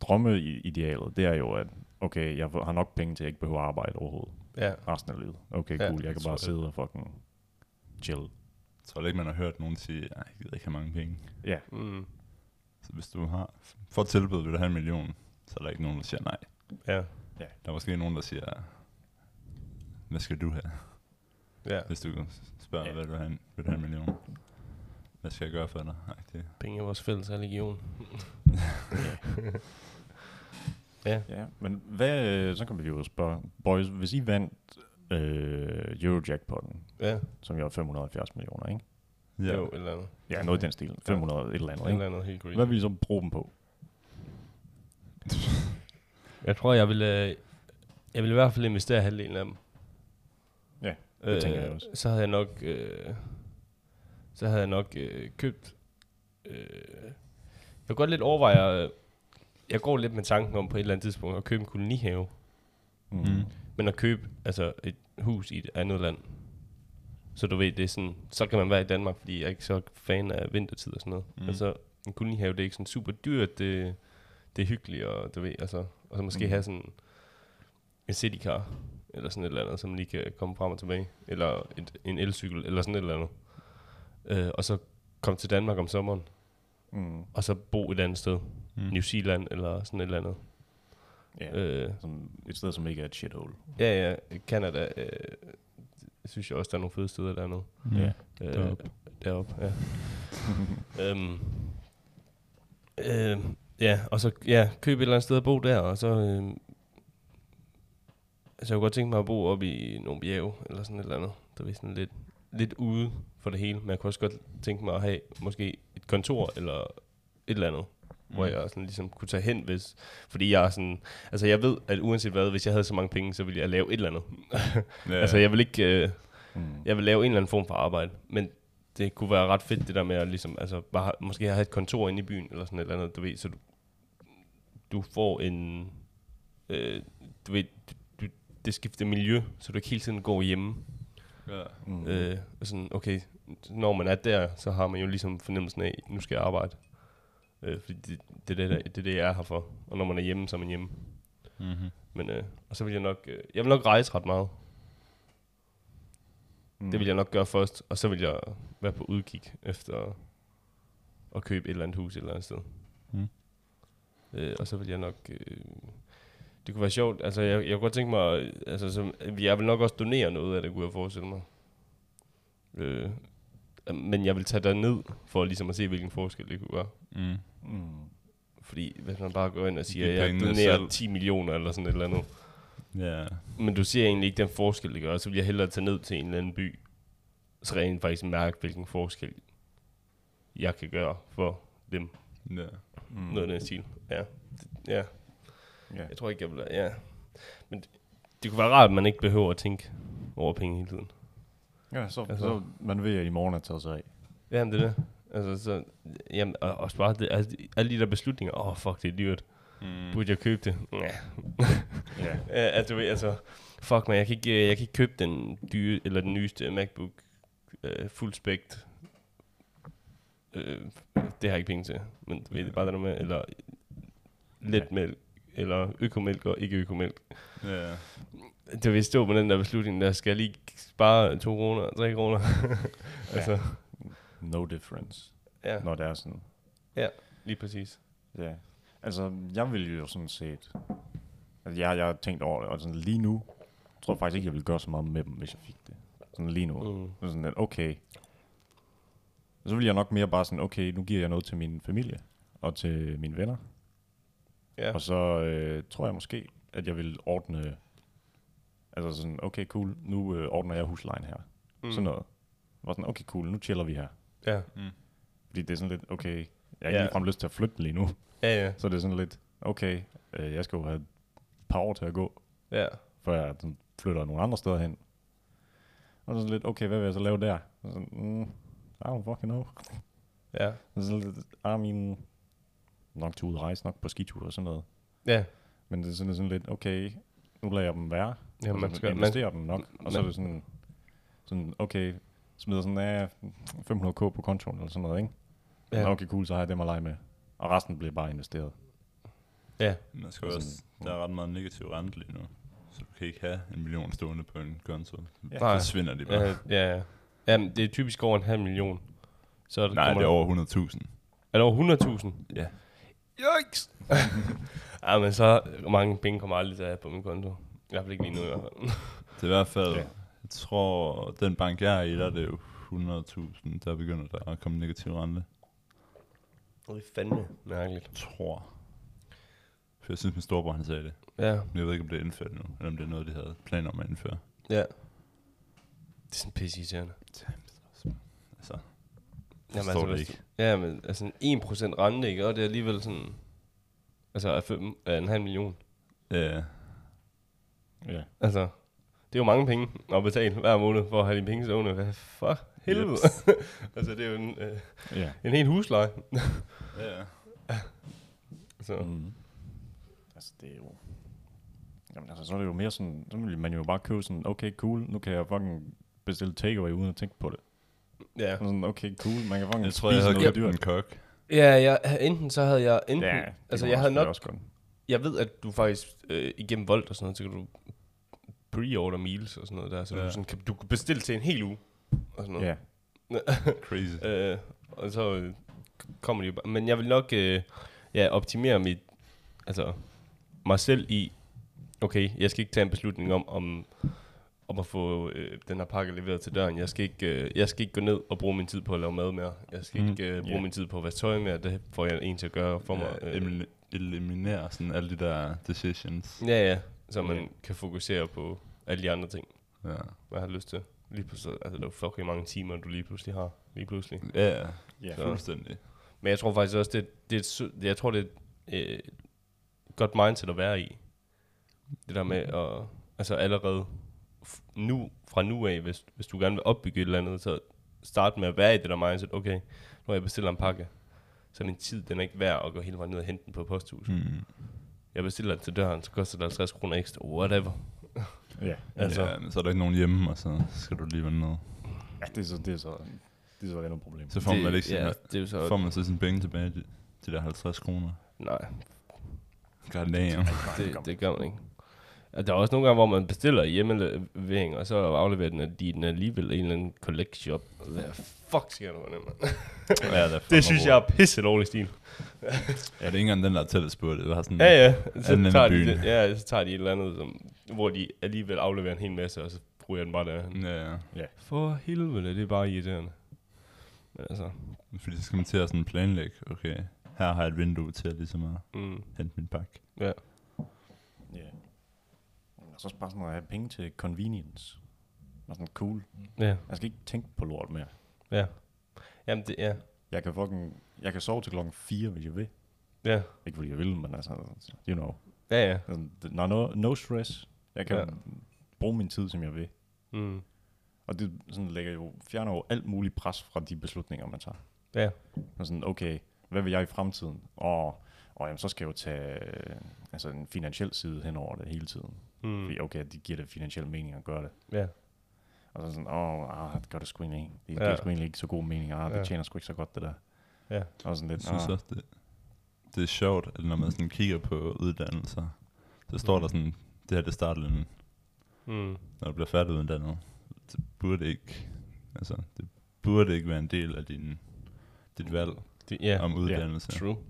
Speaker 4: drømmeidealet, det er jo, at okay, jeg har nok penge til, at jeg ikke behøver at arbejde overhovedet
Speaker 2: Ja.
Speaker 4: resten af livet. Okay,
Speaker 2: Ja,
Speaker 4: cool, jeg
Speaker 2: det
Speaker 4: kan
Speaker 2: tror jeg.
Speaker 4: bare sidde og fucking chill.
Speaker 3: Jeg tror ikke, man har hørt nogen sige, at jeg gider ikke have mange penge.
Speaker 4: Ja,
Speaker 2: Mm.
Speaker 3: Så hvis du har, får et tilbud, vil du have en million, så er der ikke nogen, der siger nej.
Speaker 2: Ja.
Speaker 3: Der er måske nogen, der siger, hvad skal du have?
Speaker 2: Ja.
Speaker 3: Hvis du spørger, hvad vil du have, en- vil du have en million? Hvad skal jeg gøre for dig? Ej, det,
Speaker 2: Penge er vores fælles
Speaker 4: [laughs]
Speaker 2: religion.
Speaker 4: ja. men hvad, øh, så kan vi jo spørge, boys, hvis I vandt øh, Eurojackpotten,
Speaker 2: Ja.
Speaker 4: som jo er 570 millioner, ikke?
Speaker 2: ja.
Speaker 3: ja.
Speaker 2: Jo, et eller andet.
Speaker 4: Ja, noget i den stil. 500 et eller andet,
Speaker 2: Et eller
Speaker 4: ikke?
Speaker 2: andet helt green.
Speaker 4: Hvad vil I så bruge dem på?
Speaker 2: Jeg tror, jeg vil, øh, jeg vil i hvert fald investere halvdelen af dem. Øh,
Speaker 4: Ja, det tænker jeg også.
Speaker 2: Så havde jeg nok, øh, så havde jeg nok øh, købt øh, Jeg kan godt lidt overveje, øh, jeg går lidt med tanken om på et eller andet tidspunkt at købe en kolonihave,
Speaker 3: Mm.
Speaker 2: men at købe altså et hus i et andet land. Så du ved, det er sådan, så kan man være i Danmark, fordi jeg er ikke så fan af vintertid og sådan noget. Mm.
Speaker 3: Mm.
Speaker 2: Altså, en kolonihave, det er ikke sådan super dyrt, det, det er hyggeligt, og du ved, altså, og så måske mm. have sådan en citycar, eller sådan et eller andet, som lige kan komme frem og tilbage, eller et, en elcykel, eller sådan et eller andet. Øh, og så komme til Danmark om sommeren,
Speaker 4: Mm.
Speaker 2: og så bo et andet sted.
Speaker 3: Mm.
Speaker 2: New Zealand eller sådan et eller andet.
Speaker 4: Ja. Øh.
Speaker 2: Øh,
Speaker 4: Sådan et sted, som ikke er et shithole.
Speaker 2: ja, ja, Canada, øh, synes jeg også, der er nogle fede steder dernede.
Speaker 3: Mm.
Speaker 4: Ja.
Speaker 2: Øh,
Speaker 3: Deroppe.
Speaker 2: Deroppe, ja. [laughs] øhm, øh, ja, og så ja, købe et eller andet sted at bo der, og så... Øh, altså, jeg kunne godt tænke mig at bo oppe i nogle bjerge, eller sådan et eller andet. Der er sådan lidt, lidt ude for det hele, men jeg kunne også godt tænke mig at have måske et kontor, eller et eller andet, mm. hvor jeg sådan ligesom kunne tage hen, hvis... Fordi jeg er sådan... Altså, jeg ved, at uanset hvad, hvis jeg havde så mange penge, så ville jeg lave et eller andet.
Speaker 3: Ja,
Speaker 2: Ja. Altså, jeg vil ikke... Øh,
Speaker 4: Mm.
Speaker 2: jeg vil lave en eller anden form for arbejde, men det kunne være ret fedt det der med at ligesom, altså, bare, måske have et kontor inde i byen, eller sådan et eller andet, du ved, så du, du får en, øh, du ved, du, det skifter miljø, så du ikke hele tiden går hjemme.
Speaker 3: ja.
Speaker 4: Mm.
Speaker 2: Mm. Øh, og sådan, okay, når man er der, så har man jo ligesom fornemmelsen af, nu skal jeg arbejde. Øh, fordi det, det, er det, der, det er det, jeg er her for. Og når man er hjemme, så er man hjemme.
Speaker 3: Mm-hmm.
Speaker 2: Men, øh, og så vil jeg nok, øh, jeg vil nok rejse ret meget.
Speaker 4: Mm.
Speaker 2: Det vil jeg nok gøre først, og så vil jeg være på udkig efter at købe et eller andet hus et eller andet sted.
Speaker 3: Mm.
Speaker 2: Øh, og så vil jeg nok... Øh, det kunne være sjovt. Altså, jeg, jeg kunne godt tænke mig... øh, Altså, så, jeg vil nok også donere noget af det, kunne jeg forestille mig. Øh, men jeg vil tage derned for ligesom at se, hvilken forskel det kunne gøre.
Speaker 3: Mm.
Speaker 4: Mm.
Speaker 2: Fordi hvis man bare går ind og siger,
Speaker 3: Giv
Speaker 2: at jeg
Speaker 3: pengene
Speaker 2: donerer
Speaker 3: selv.
Speaker 2: 10 millioner eller sådan et eller andet.
Speaker 3: Ja.
Speaker 2: Men du ser egentlig ikke den forskel, det gør. Så vil jeg hellere tage ned til en eller anden by, så rent faktisk mærke, hvilken forskel jeg kan gøre for dem. Mm.
Speaker 3: Ja.
Speaker 4: Mm.
Speaker 2: Noget af den stil. Ja. Det- ja.
Speaker 4: Ja.
Speaker 2: Jeg tror ikke, jeg vil... Ja. Men det, det kunne være rart, at man ikke behøver at tænke over penge hele tiden.
Speaker 4: ja, så,
Speaker 2: Altså-
Speaker 4: altså. så man ved, at i morgen er taget sig af.
Speaker 2: Jamen, det er det. Altså, så, jamen, og, og bare det, altså, alle de der beslutninger. Åh, oh, fuck, det er dyrt.
Speaker 3: Mm.
Speaker 2: Burde jeg købe det? Ja.
Speaker 4: Ja.
Speaker 2: Ja, altså, du ved, altså, fuck man, jeg kan ikke, øh, jeg kan ikke købe den dyre, eller den nyeste MacBook øh, fuld spægt. Øh, det har jeg ikke penge til, men du ved, det er bare det der med, eller let mælk, eller økomælk og ikke økomælk.
Speaker 3: Ja.
Speaker 2: Det vil stå med den der beslutning, der skal jeg lige spare to kroner, tre kroner. [laughs] altså, ja.
Speaker 4: No difference,
Speaker 2: ja,
Speaker 4: når det er sådan.
Speaker 2: lige præcis.
Speaker 4: Ja. Altså, jeg vil jo sådan set... Altså, jeg, jeg har tænkt over det, og sådan lige nu, tror jeg faktisk ikke, jeg ville gøre så meget med dem, hvis jeg fik det. Sådan lige nu.
Speaker 2: Mm.
Speaker 4: Så sådan lidt, okay. Og så vil jeg nok mere bare sådan, okay, nu giver jeg noget til min familie og til mine venner.
Speaker 2: Ja.
Speaker 4: Og så øh, tror jeg måske, at jeg vil ordne, altså sådan, okay, cool, nu øh, ordner jeg huslejen her. Mm. Sådan noget. Var sådan, okay, cool, nu chiller vi her.
Speaker 2: Ja,
Speaker 4: Fordi det er sådan lidt, okay, jeg har
Speaker 2: Ja.
Speaker 4: ikke ligefrem lyst til at flytte lige nu.
Speaker 2: ja, ja.
Speaker 4: Så det er sådan lidt, okay, øh, jeg skal jo have et par år til at gå,
Speaker 2: ja.
Speaker 4: før jeg sådan flytter nogle andre steder hen. Og så sådan lidt, okay, hvad vil jeg så lave der? Og sådan, mm, I don't fucking know.
Speaker 2: Ja,
Speaker 4: Og så sådan lidt, ah, min nok til udrejse, nok på skitur og sådan noget.
Speaker 2: ja.
Speaker 4: Men det er sådan, sådan lidt, okay, nu lader jeg dem være,
Speaker 2: ja
Speaker 4: og
Speaker 2: man
Speaker 4: så
Speaker 2: skal, man,
Speaker 4: investerer dem nok. Og så er
Speaker 2: man-
Speaker 4: det sådan, sådan okay, smider sådan af 500k på kontoen eller sådan noget, ikke? Ja.
Speaker 2: ja,
Speaker 4: Okay, cool, så har jeg dem at lege med. Og resten bliver bare investeret.
Speaker 2: ja,
Speaker 3: Man skal også, der er ret meget negativ rente lige nu. Så du kan ikke have en million stående på en konto. Så
Speaker 4: Ja.
Speaker 3: forsvinder de bare.
Speaker 2: ja, ja, ja. Jamen, det er typisk over en halv million. Så er der-
Speaker 3: Nej,
Speaker 2: kommer
Speaker 3: det er
Speaker 2: der-
Speaker 3: over 100.000.
Speaker 2: Er det over 100.000?
Speaker 3: Ja.
Speaker 2: [laughs] Yikes! ja, men så mange penge kommer jeg aldrig til at have på min konto. I hvert fald ikke lige nu i hvert fald.
Speaker 3: Det er i hvert fald,
Speaker 4: Ja.
Speaker 3: jeg tror, den bank jeg er i, der er det jo 100.000, der begynder der at komme negativ rente.
Speaker 2: Det er fandme mærkeligt.
Speaker 3: Tror. For jeg synes, min storebror han sagde det.
Speaker 2: Ja,
Speaker 3: Men jeg ved ikke, om det er indført nu, eller om det er noget, de havde planer om at indføre.
Speaker 2: ja. Det er sådan pisse irriterende.
Speaker 3: Altså,
Speaker 2: Jamen, altså,
Speaker 3: Forstår det
Speaker 2: hvis
Speaker 3: ikke.
Speaker 2: du- Ja, men altså 1% rente, ikke? Og det er alligevel sådan... Altså er fem, er en halv million.
Speaker 3: øh,
Speaker 4: Ja.
Speaker 2: Altså, det er jo mange penge at betale hver måned for at have dine penge stående. Hvad [laughs] for helvede? altså, det er jo en, øh,
Speaker 4: Ja.
Speaker 2: en hel husleje.
Speaker 3: ja,
Speaker 2: Så, mm.
Speaker 3: Mm-hmm.
Speaker 4: Mm. Altså, det er jo... Jamen, altså, så er det jo mere sådan... Så vil man jo bare købe sådan, okay, cool, nu kan jeg fucking bestille takeaway uden at tænke på det.
Speaker 2: ja.
Speaker 4: Sådan, okay, cool, man kan fucking
Speaker 3: Jeg tror, jeg
Speaker 4: spise
Speaker 3: havde
Speaker 4: noget
Speaker 3: købt
Speaker 4: dyrt.
Speaker 3: en kok.
Speaker 2: Ja, jeg, enten så havde jeg... Enten,
Speaker 4: Ja,
Speaker 2: ja,
Speaker 4: det
Speaker 2: altså,
Speaker 4: kunne
Speaker 2: jeg
Speaker 4: man
Speaker 2: havde
Speaker 4: selvfølgelig
Speaker 2: nok...
Speaker 4: Også godt.
Speaker 2: Jeg ved, at du faktisk øh, igennem Volt og sådan noget, så kan du pre-order meals og sådan noget der, så ja.
Speaker 3: Ja.
Speaker 2: du, sådan, kan, du kan bestille til en hel uge og sådan noget.
Speaker 4: Ja,
Speaker 2: [laughs]
Speaker 3: Crazy.
Speaker 2: Øh, og så øh, kommer de jo bare. Men jeg vil nok øh, ja, optimere mit, altså, mig selv i, okay, jeg skal ikke tage en beslutning om, om, om at få øh, den her pakke leveret til døren. Jeg skal, ikke, øh, jeg skal ikke gå ned og bruge min tid på at lave mad mere. Jeg skal mm,
Speaker 3: Mm,
Speaker 2: ikke øh, bruge
Speaker 4: Mhm. ja.
Speaker 2: yeah. min tid på at vaske tøj mere. Det får jeg en til at gøre for mig. øh.
Speaker 3: Ja, elimine- eliminere sådan alle de der decisions.
Speaker 2: ja, ja. Så man
Speaker 4: Ja.
Speaker 2: kan fokusere på alle de andre ting,
Speaker 3: Ja.
Speaker 2: man har lyst til. Lige pludselig, altså der er jo fucking mange timer, du lige pludselig har. Lige pludselig.
Speaker 3: Ja, ja.
Speaker 4: ja.
Speaker 2: Så-
Speaker 3: Fuldstændig.
Speaker 2: Men jeg tror faktisk også, det, det er, et su- jeg tror, det er et øh, godt mindset at være i. Det der med at, altså allerede f- nu, fra nu af, hvis, hvis du gerne vil opbygge et eller andet, så start med at være i det der mindset, okay, nu har jeg bestilt en pakke, så er min tid, den er ikke værd at gå hele vejen ned og hente den på posthuset. Mm.
Speaker 3: Mm.
Speaker 2: Jeg bestiller den til døren, så koster det 50 kroner ekstra, whatever.
Speaker 4: ja.
Speaker 2: Altså,
Speaker 3: Altså. Ja, men så er der ikke nogen hjemme, og så skal du lige vende noget.
Speaker 4: ja det, er så, det er så... Det er så et andet problem.
Speaker 3: Så får man vel ikke
Speaker 2: ja,
Speaker 3: sine,
Speaker 2: det er jo
Speaker 3: så
Speaker 2: så,
Speaker 3: får man så sine penge tilbage, de, de der 50 kroner.
Speaker 2: nej,
Speaker 3: God
Speaker 2: [laughs]
Speaker 3: damn.
Speaker 2: det, det gør man ikke. Og der er også nogle gange, hvor man bestiller hjemmelevering, og så afleverer den, at de den alligevel i en eller anden collect shop. Hvad fuck sker der for den, mand?
Speaker 3: ja, det, er
Speaker 2: Det synes jeg er pisse dårlig stil.
Speaker 3: Ja, det er ikke engang den, der er tættest på det. Det var sådan,
Speaker 2: Ja, ja.
Speaker 3: Anden
Speaker 2: Så
Speaker 3: end i
Speaker 2: tager, de,
Speaker 3: byen.
Speaker 2: det- ja, så tager de et eller andet, som, hvor de alligevel afleverer en hel masse, og så bruger jeg den bare der.
Speaker 3: ja, ja.
Speaker 2: For helvede, det er bare irriterende. Men altså,
Speaker 3: Fordi så skal man til at sådan planlægge, okay, her har jeg et vindue til at ligesom at
Speaker 2: mm,
Speaker 3: hente min pakke.
Speaker 2: ja.
Speaker 4: Ja. Og så også bare sådan at have penge til convenience. Og sådan cool.
Speaker 2: Ja,
Speaker 4: Jeg skal ikke tænke på lort mere.
Speaker 2: ja. Jamen, det, ja.
Speaker 4: Jeg kan fucking... Jeg kan sove til klokken 4, hvis jeg vil.
Speaker 2: Ja,
Speaker 4: Ikke fordi jeg vil, men altså... You know.
Speaker 2: ja, ja.
Speaker 4: Altså, det- No, no, no stress. Jeg kan
Speaker 2: Ja.
Speaker 4: ja. bruge min tid, som jeg vil.
Speaker 2: Mm,
Speaker 4: Og det sådan lægger jo, fjerner jo alt muligt pres fra de beslutninger, man tager.
Speaker 2: ja.
Speaker 4: Og sådan, okay, hvad vil jeg i fremtiden? Og, og jamen, så skal jeg jo tage øh, altså, en finansiel side hen over det hele tiden. Mm.
Speaker 2: Mm,
Speaker 4: Fordi okay, det giver det finansiel mening at gøre det.
Speaker 2: ja.
Speaker 4: Og så sådan, åh, ah, det gør det sgu egentlig ikke. Det, ja. det
Speaker 2: Ja.
Speaker 4: er sgu egentlig ikke så god mening. Ah, det
Speaker 2: Ja.
Speaker 4: ja. tjener sgu ikke så godt, det der.
Speaker 2: Ja.
Speaker 4: Og sådan
Speaker 3: Jeg
Speaker 4: lidt,
Speaker 3: synes
Speaker 4: ah,
Speaker 3: også, det, det er sjovt, at når man sådan kigger på uddannelser, så står der sådan, det her det starter en
Speaker 2: Mm,
Speaker 3: når du bliver færdiguddannet, det burde ikke, altså, det burde ikke være en del af din, dit valg
Speaker 2: det, ja.
Speaker 3: om uddannelse. Yeah,
Speaker 2: True.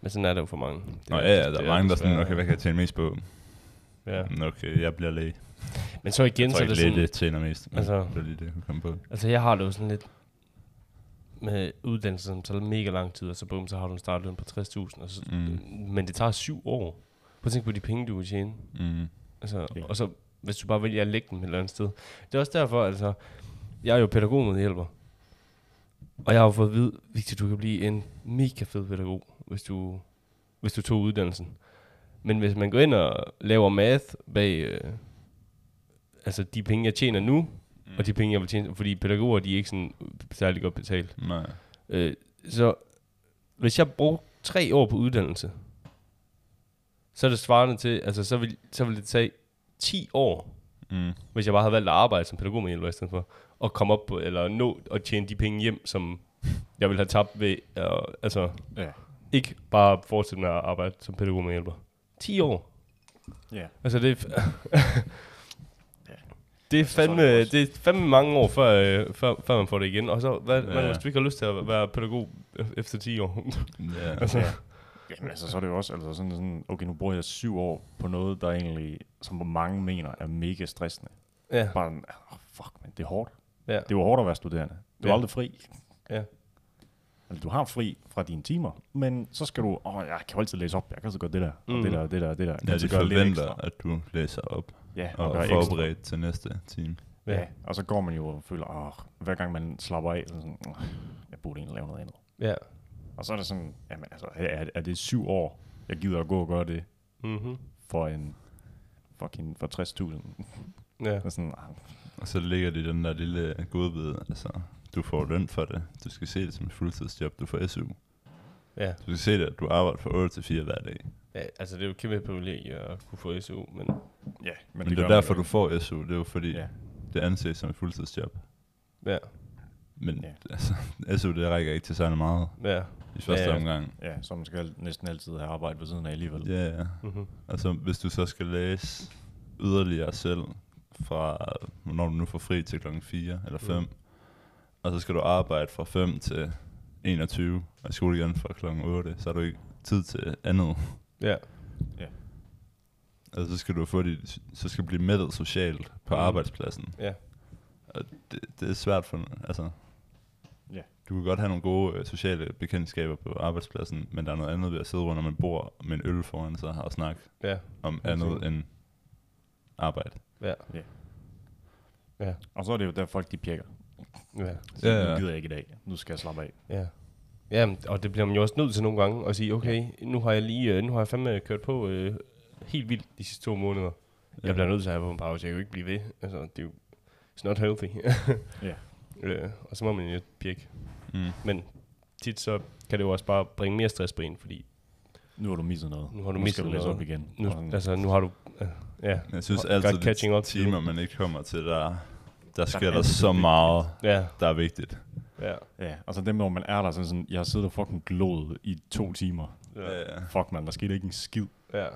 Speaker 2: Men sådan er der jo for mange.
Speaker 3: Nå ja, ja, der er mange, der er sådan,
Speaker 2: desværre-
Speaker 3: okay, hvad kan jeg tjene mest på?
Speaker 2: Ja.
Speaker 3: Mm, Okay, jeg bliver læge.
Speaker 2: Men så igen,
Speaker 3: Jeg
Speaker 2: så
Speaker 3: tror
Speaker 2: er det
Speaker 3: ikke, læge
Speaker 2: sådan,
Speaker 3: det tjener mest, men
Speaker 2: Altså-
Speaker 3: altså, det var lige det, jeg kunne komme på.
Speaker 2: altså jeg har det jo sådan lidt med uddannelse, som tager mega lang tid, og så bum, så har du en startløn på 60.000, og så, mm.
Speaker 3: Mm.
Speaker 2: men det tager syv år. Prøv at tænke på de penge, du kan tjene.
Speaker 3: Mm.
Speaker 2: Altså,
Speaker 4: Ja.
Speaker 2: Og så, hvis du bare vælger at lægge dem et eller andet sted. Det er også derfor, altså, jeg er jo pædagogmedhjælper. Og jeg har jo fået at vide, Victor, du kan blive en mega fed pædagog, hvis du, hvis du tog uddannelsen. Men hvis man går ind og laver math bag øh, altså de penge, jeg tjener nu, mm. og de penge, jeg vil tjene, fordi pædagoger, de er ikke sådan særlig godt betalt.
Speaker 3: Nej.
Speaker 2: Øh, så hvis jeg brugte tre år på uddannelse, så er det svarende til, altså så vil, så vil det tage 10 år,
Speaker 3: Mm.
Speaker 2: hvis jeg bare havde valgt at arbejde som pædagogmedhjælper i stedet for, at komme op på, eller nå at tjene de penge hjem, som jeg ville have tabt ved, øh, altså
Speaker 4: ja.
Speaker 2: ikke bare fortsætte med at arbejde som pædagogmedhjælper. 10 år.
Speaker 4: ja.
Speaker 2: Altså det er, [laughs] f- det er
Speaker 4: Altså, så er det
Speaker 2: fandme,
Speaker 4: også-
Speaker 2: det er fandme mange år, før, øh, før, før man får det igen. Og så, hvad,
Speaker 3: Ja.
Speaker 2: ja. hvis du ikke har lyst til at være pædagog e- efter 10 år?
Speaker 3: Ja.
Speaker 2: altså,
Speaker 4: ja. Jamen, altså, så er det jo også altså sådan, sådan, okay, nu bruger jeg syv år på noget, der egentlig, som mange mener, er mega stressende.
Speaker 2: ja.
Speaker 4: Bare, sådan, ah, fuck, men det er hårdt.
Speaker 2: Ja.
Speaker 4: Det var hårdt at være studerende. Du er
Speaker 2: Ja.
Speaker 4: aldrig fri.
Speaker 2: Ja.
Speaker 4: Altså, du har fri fra dine timer, men så skal du, åh, jeg kan jo altid læse op, jeg kan altid gøre det der, og
Speaker 2: Mm.
Speaker 4: det der, og det der, og det der. Jeg kan
Speaker 3: Ja,
Speaker 4: altid
Speaker 3: de
Speaker 4: gøre lidt
Speaker 3: forventer,
Speaker 4: ekstra.
Speaker 3: at du læser op
Speaker 4: ja,
Speaker 3: og
Speaker 4: og,
Speaker 3: er
Speaker 4: gøre ekstra.
Speaker 3: forberedt til næste time.
Speaker 4: Ja. og så går man jo og føler, åh, hver gang man slapper af, så sådan, "Åh, jeg burde egentlig lave noget andet.
Speaker 2: Ja.
Speaker 4: Og så er det sådan, jamen altså, er, er det syv år, jeg gider at gå og gøre det
Speaker 2: Mhm.
Speaker 4: for en fucking for 60.000?
Speaker 2: Ja.
Speaker 4: Og sådan, ah,
Speaker 3: Og så ligger det i den der lille godbid, altså, du får løn for det. Du skal se det som et fuldtidsjob, du får SU.
Speaker 2: Ja.
Speaker 3: Du skal se det, at du arbejder fra 8 til 4 hver dag.
Speaker 2: ja, altså det er jo et kæmpe privilegie at kunne få SU, men
Speaker 4: Ja,
Speaker 3: Men, det, det er
Speaker 4: gør man
Speaker 3: derfor,
Speaker 4: jo.
Speaker 3: du får SU. Det er jo fordi,
Speaker 4: Ja.
Speaker 3: ja. det anses som et fuldtidsjob.
Speaker 2: ja,
Speaker 3: Men
Speaker 4: Ja.
Speaker 3: ja. [laughs] altså, SU, det rækker ikke til særlig meget
Speaker 2: ja.
Speaker 3: i første
Speaker 2: Ja,
Speaker 3: ja,
Speaker 2: ja.
Speaker 3: omgang.
Speaker 4: Ja, så man skal al- næsten altid have arbejde ved siden af alligevel.
Speaker 3: Ja, ja.
Speaker 2: Mm-hmm.
Speaker 3: Altså, hvis du så skal læse yderligere selv fra, når du nu får fri til klokken 4 eller 5, mm. og så skal du arbejde fra 5 til 21, og i skole igen fra klokken 8, så har du ikke tid til andet.
Speaker 2: Ja,
Speaker 3: Altså, så skal du få dit, så skal du blive mættet socialt på
Speaker 2: Mm.
Speaker 3: mm. arbejdspladsen.
Speaker 2: Ja.
Speaker 3: Og det, det, er svært for, altså...
Speaker 4: Ja.
Speaker 3: Du kan godt have nogle gode øh, sociale bekendtskaber på arbejdspladsen, men der er noget andet ved at sidde rundt om et bord med en øl foran sig og snakke
Speaker 2: ja,
Speaker 3: om
Speaker 2: Helt
Speaker 3: andet
Speaker 2: sikkert.
Speaker 3: end arbejde.
Speaker 2: ja,
Speaker 4: Og så er det jo der folk, de pjekker.
Speaker 2: ja,
Speaker 4: Så
Speaker 3: Ja, ja.
Speaker 4: Nu gider jeg ikke i dag. Nu skal jeg slappe af.
Speaker 2: ja. Ja, og det bliver man jo også nødt til nogle gange at sige, okay, nu har jeg lige, øh, nu har jeg fandme kørt på øh, helt vildt de sidste to måneder. Jeg bliver nødt til at have på en pause, jeg kan jo ikke blive ved. Altså, det er jo, it's not healthy.
Speaker 4: Ja.
Speaker 2: [laughs] Øh, og så må man jo pjekke.
Speaker 3: Mm.
Speaker 2: Men tit så kan det jo også bare bringe mere stress på en, fordi
Speaker 4: Nu har du misset noget.
Speaker 2: Nu har du
Speaker 4: skal
Speaker 2: misset
Speaker 4: du læse
Speaker 2: noget.
Speaker 4: op igen.
Speaker 2: nu,
Speaker 4: Og sådan-
Speaker 2: altså, nu har du... Øh, ja,
Speaker 3: Jeg synes
Speaker 2: Godt
Speaker 3: altid,
Speaker 2: catching up
Speaker 3: de
Speaker 2: to
Speaker 3: timer, man ikke kommer til, der, der sker der,
Speaker 4: altid
Speaker 3: så
Speaker 4: det.
Speaker 3: meget,
Speaker 2: ja,
Speaker 3: der er vigtigt.
Speaker 2: ja.
Speaker 4: Ja, altså dem, hvor man er der, sådan, sådan jeg har siddet og fucking glået i to timer.
Speaker 2: Ja,
Speaker 3: Ja.
Speaker 4: Fuck, man, der skete ikke en skid.
Speaker 2: ja.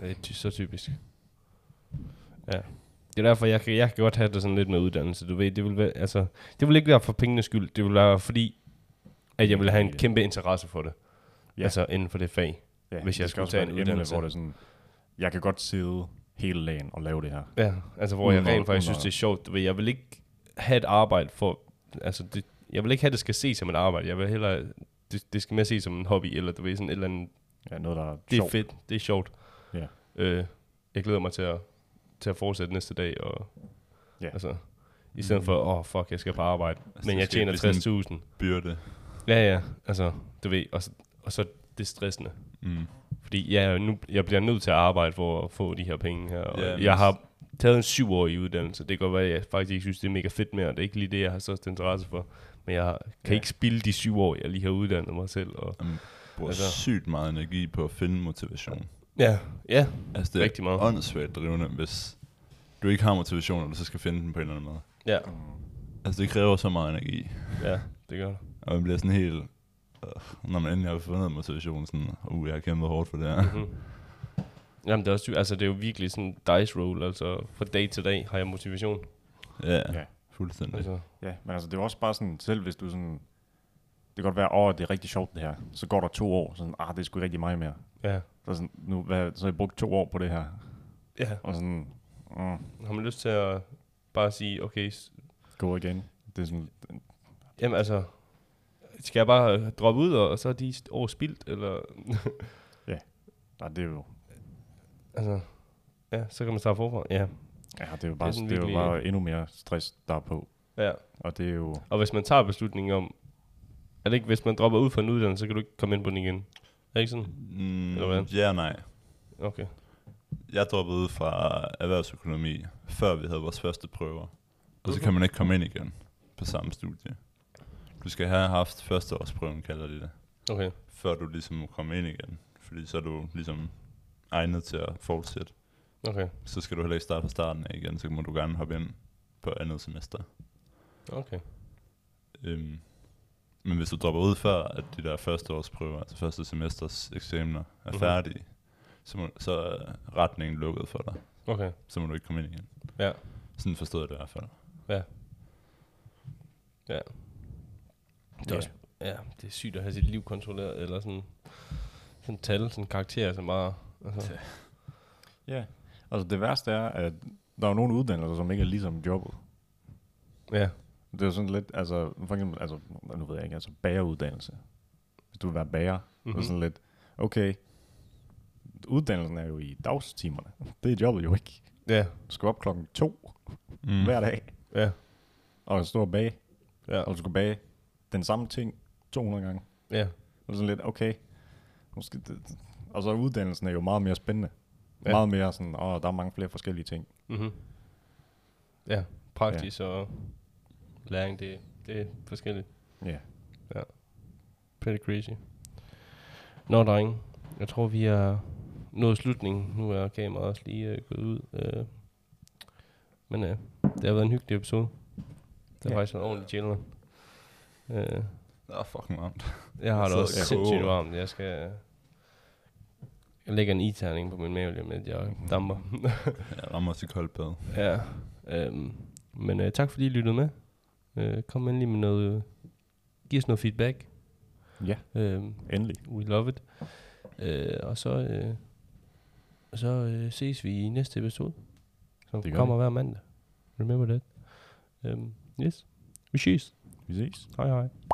Speaker 2: Det er ty- så typisk. Ja. Det er derfor, jeg kan, jeg kan godt have det sådan lidt med uddannelse. Du ved, det vil, være, altså, det vil ikke være for pengenes skyld. Det vil være fordi, at jeg vil have en kæmpe interesse for det.
Speaker 4: Ja.
Speaker 2: Ja. Altså inden for det fag.
Speaker 4: Ja,
Speaker 2: Hvis jeg
Speaker 4: det
Speaker 2: skulle tage
Speaker 4: være
Speaker 2: en
Speaker 4: et emne,
Speaker 2: uddannelse.
Speaker 4: Hvor det er sådan, jeg kan godt sidde hele dagen og lave det her.
Speaker 2: Ja, altså hvor jeg
Speaker 4: Uden at-
Speaker 2: rent faktisk
Speaker 4: uden
Speaker 2: synes,
Speaker 4: at-
Speaker 2: det er sjovt. Du ved, jeg vil ikke have et arbejde for... Altså, det, jeg vil ikke have, at det skal ses som et arbejde. Jeg vil hellere... Det, det skal mere ses som en hobby, eller du ved, sådan et eller andet
Speaker 4: Ja, noget, der er
Speaker 2: Det er
Speaker 4: sjovt.
Speaker 2: fedt, det er sjovt.
Speaker 4: Ja.
Speaker 2: Øh, jeg glæder mig til at, til at fortsætte næste dag. Og,
Speaker 4: Ja.
Speaker 2: altså, I stedet for, åh oh, fuck, jeg skal på arbejde,
Speaker 3: Altså,
Speaker 2: men
Speaker 3: det
Speaker 2: jeg
Speaker 3: skal
Speaker 2: tjener
Speaker 3: blive sådan
Speaker 2: 60.000.
Speaker 3: Byrde.
Speaker 2: Ja, ja, altså, du ved, og, så- og så det stressende.
Speaker 3: Mm.
Speaker 2: Fordi jeg, er nu, jeg bliver nødt til at arbejde for at få de her penge her. Og
Speaker 3: Ja,
Speaker 2: ja,
Speaker 3: men-
Speaker 2: jeg har taget en syvårig uddannelse. Det kan godt være, at jeg faktisk ikke synes, det er mega fedt mere. Det er ikke lige det, jeg har størst interesse for. Men jeg kan
Speaker 4: Ja.
Speaker 2: ikke spille de syv år, jeg lige har uddannet mig selv. Og,
Speaker 3: Man bruger
Speaker 2: Altså-
Speaker 3: altså. sygt meget energi på at finde motivation.
Speaker 2: ja, ja,
Speaker 3: Altså, det
Speaker 2: Rigtig
Speaker 3: Rigtig
Speaker 2: meget.
Speaker 3: meget. er åndssvagt drivende, hvis du ikke har motivation, og du så skal finde den på en eller anden måde.
Speaker 2: ja,
Speaker 3: Altså, det kræver så meget energi.
Speaker 2: ja, det gør det.
Speaker 3: Og man bliver sådan helt... øh, Når man endelig har fundet motivationen, sådan, uh, jeg har kæmpet hårdt for det her.
Speaker 2: Mhm. Jamen, det er, også, ty- altså, det er jo virkelig sådan en dice roll, altså fra dag til dag har jeg motivation.
Speaker 3: ja,
Speaker 4: Ja.
Speaker 3: ja, fuldstændig.
Speaker 2: Altså,
Speaker 4: Ja, men altså, det er jo også bare sådan, selv hvis du sådan, det kan godt være, åh, det er rigtig sjovt det her. Så går der to år, sådan, ah, det er sgu ikke rigtig mig mere.
Speaker 2: ja.
Speaker 4: Så, er sådan, nu, hvad, så har jeg brugt to år på det her.
Speaker 2: ja.
Speaker 4: Og sådan, mm,
Speaker 2: Har man lyst til at bare sige, okay, s-
Speaker 4: gå igen. Det er sådan,
Speaker 2: jamen altså, skal jeg bare øh, droppe ud, og så er de st- år spildt, eller, [laughs]
Speaker 4: nej, det er jo,
Speaker 2: altså, ja, så kan man starte forfra. Ja,
Speaker 4: ja, det er jo bare, det er
Speaker 2: sådan
Speaker 4: jo
Speaker 2: virkelig-
Speaker 4: bare endnu mere stress, der er på.
Speaker 2: ja.
Speaker 4: Og det er jo,
Speaker 2: Og hvis man tager beslutningen om, er det ikke, hvis man dropper ud fra en uddannelse, så kan du ikke komme ind på den igen. Er det ikke sådan?
Speaker 3: Mm,
Speaker 2: Eller hvad?
Speaker 3: ja, og nej.
Speaker 2: Okay.
Speaker 3: Jeg droppede ud fra erhvervsøkonomi, før vi havde vores første prøver. Og så
Speaker 2: Hvorfor?
Speaker 3: kan man ikke komme ind igen på samme studie. Du skal have haft førsteårsprøven, kalder de det,
Speaker 2: Okay.
Speaker 3: før du ligesom må komme ind igen. Fordi så er du ligesom egnet til at fortsætte.
Speaker 2: Okay.
Speaker 3: Så skal du heller ikke starte fra starten af igen, så må du gerne hoppe ind på andet semester.
Speaker 2: Okay.
Speaker 3: Øhm, men hvis du dropper ud før, at de der førsteårsprøver, altså første semesters eksamener, er
Speaker 2: Mhm.
Speaker 3: færdige, så, må, så er retningen lukket for dig.
Speaker 2: Okay.
Speaker 3: Så må du ikke komme ind igen.
Speaker 2: Ja.
Speaker 3: Sådan forstod jeg det i hvert fald.
Speaker 2: Det er
Speaker 4: Ja.
Speaker 2: også, ja, det er sygt at have sit liv kontrolleret, eller sådan, sådan tal, sådan karakterer, så meget. Altså,
Speaker 4: ja. Altså det værste er, at der er jo nogle uddannelser, som ikke er ligesom jobbet.
Speaker 2: ja,
Speaker 4: Det er jo sådan lidt, altså, for eksempel, altså, nu ved jeg ikke, altså bageruddannelse. Hvis du vil være bager, mm-hmm. det er
Speaker 2: Mhm.
Speaker 4: sådan lidt, okay, uddannelsen er jo i dagstimerne. Det er jobbet jo ikke.
Speaker 2: ja,
Speaker 4: Du skal op klokken to mm.
Speaker 3: Mm.
Speaker 4: hver dag,
Speaker 2: ja,
Speaker 4: og stå og bage,
Speaker 2: ja,
Speaker 4: og du skal bage den samme ting 200 gange.
Speaker 2: ja,
Speaker 4: Og sådan lidt, okay, måske det, og så er uddannelsen er jo meget mere spændende.
Speaker 2: Ja.
Speaker 4: Ja. Meget mere sådan, åh, der er mange flere forskellige ting.
Speaker 2: mhm. ja, praksis ja. og læring, det, det er forskelligt.
Speaker 4: Ja.
Speaker 2: Pretty crazy. Nå, drenge. Jeg tror, vi er nået slutningen. Nu er kameraet også lige øh, gået ud. Øh. Men øh, det har været en hyggelig episode. Det har
Speaker 4: Ja.
Speaker 2: ja. faktisk været ordentligt chillende. Øh,
Speaker 3: Det er fucking varmt.
Speaker 2: jeg har det
Speaker 3: sidder
Speaker 2: også
Speaker 3: og
Speaker 2: sindssygt
Speaker 3: koger.
Speaker 2: varmt. Jeg skal... Jeg lægger en i-terning på min mave lige om lidt. Jeg damper.
Speaker 3: Jeg rammer også i koldt bad.
Speaker 2: [laughs] ja. Øhm, men øh, tak fordi I lyttede med. Øh, kom endelig med noget... Øh, giv os noget feedback.
Speaker 4: Ja.
Speaker 2: Øhm,
Speaker 4: Endelig.
Speaker 2: We love it. Øh, og så, øh, og så øh, ses vi i næste episode, som
Speaker 4: Det
Speaker 2: det
Speaker 4: gør
Speaker 2: kommer hver mandag. Remember that. Um, Øhm, yes. Vi ses.
Speaker 4: Vi ses.
Speaker 2: Hej hej.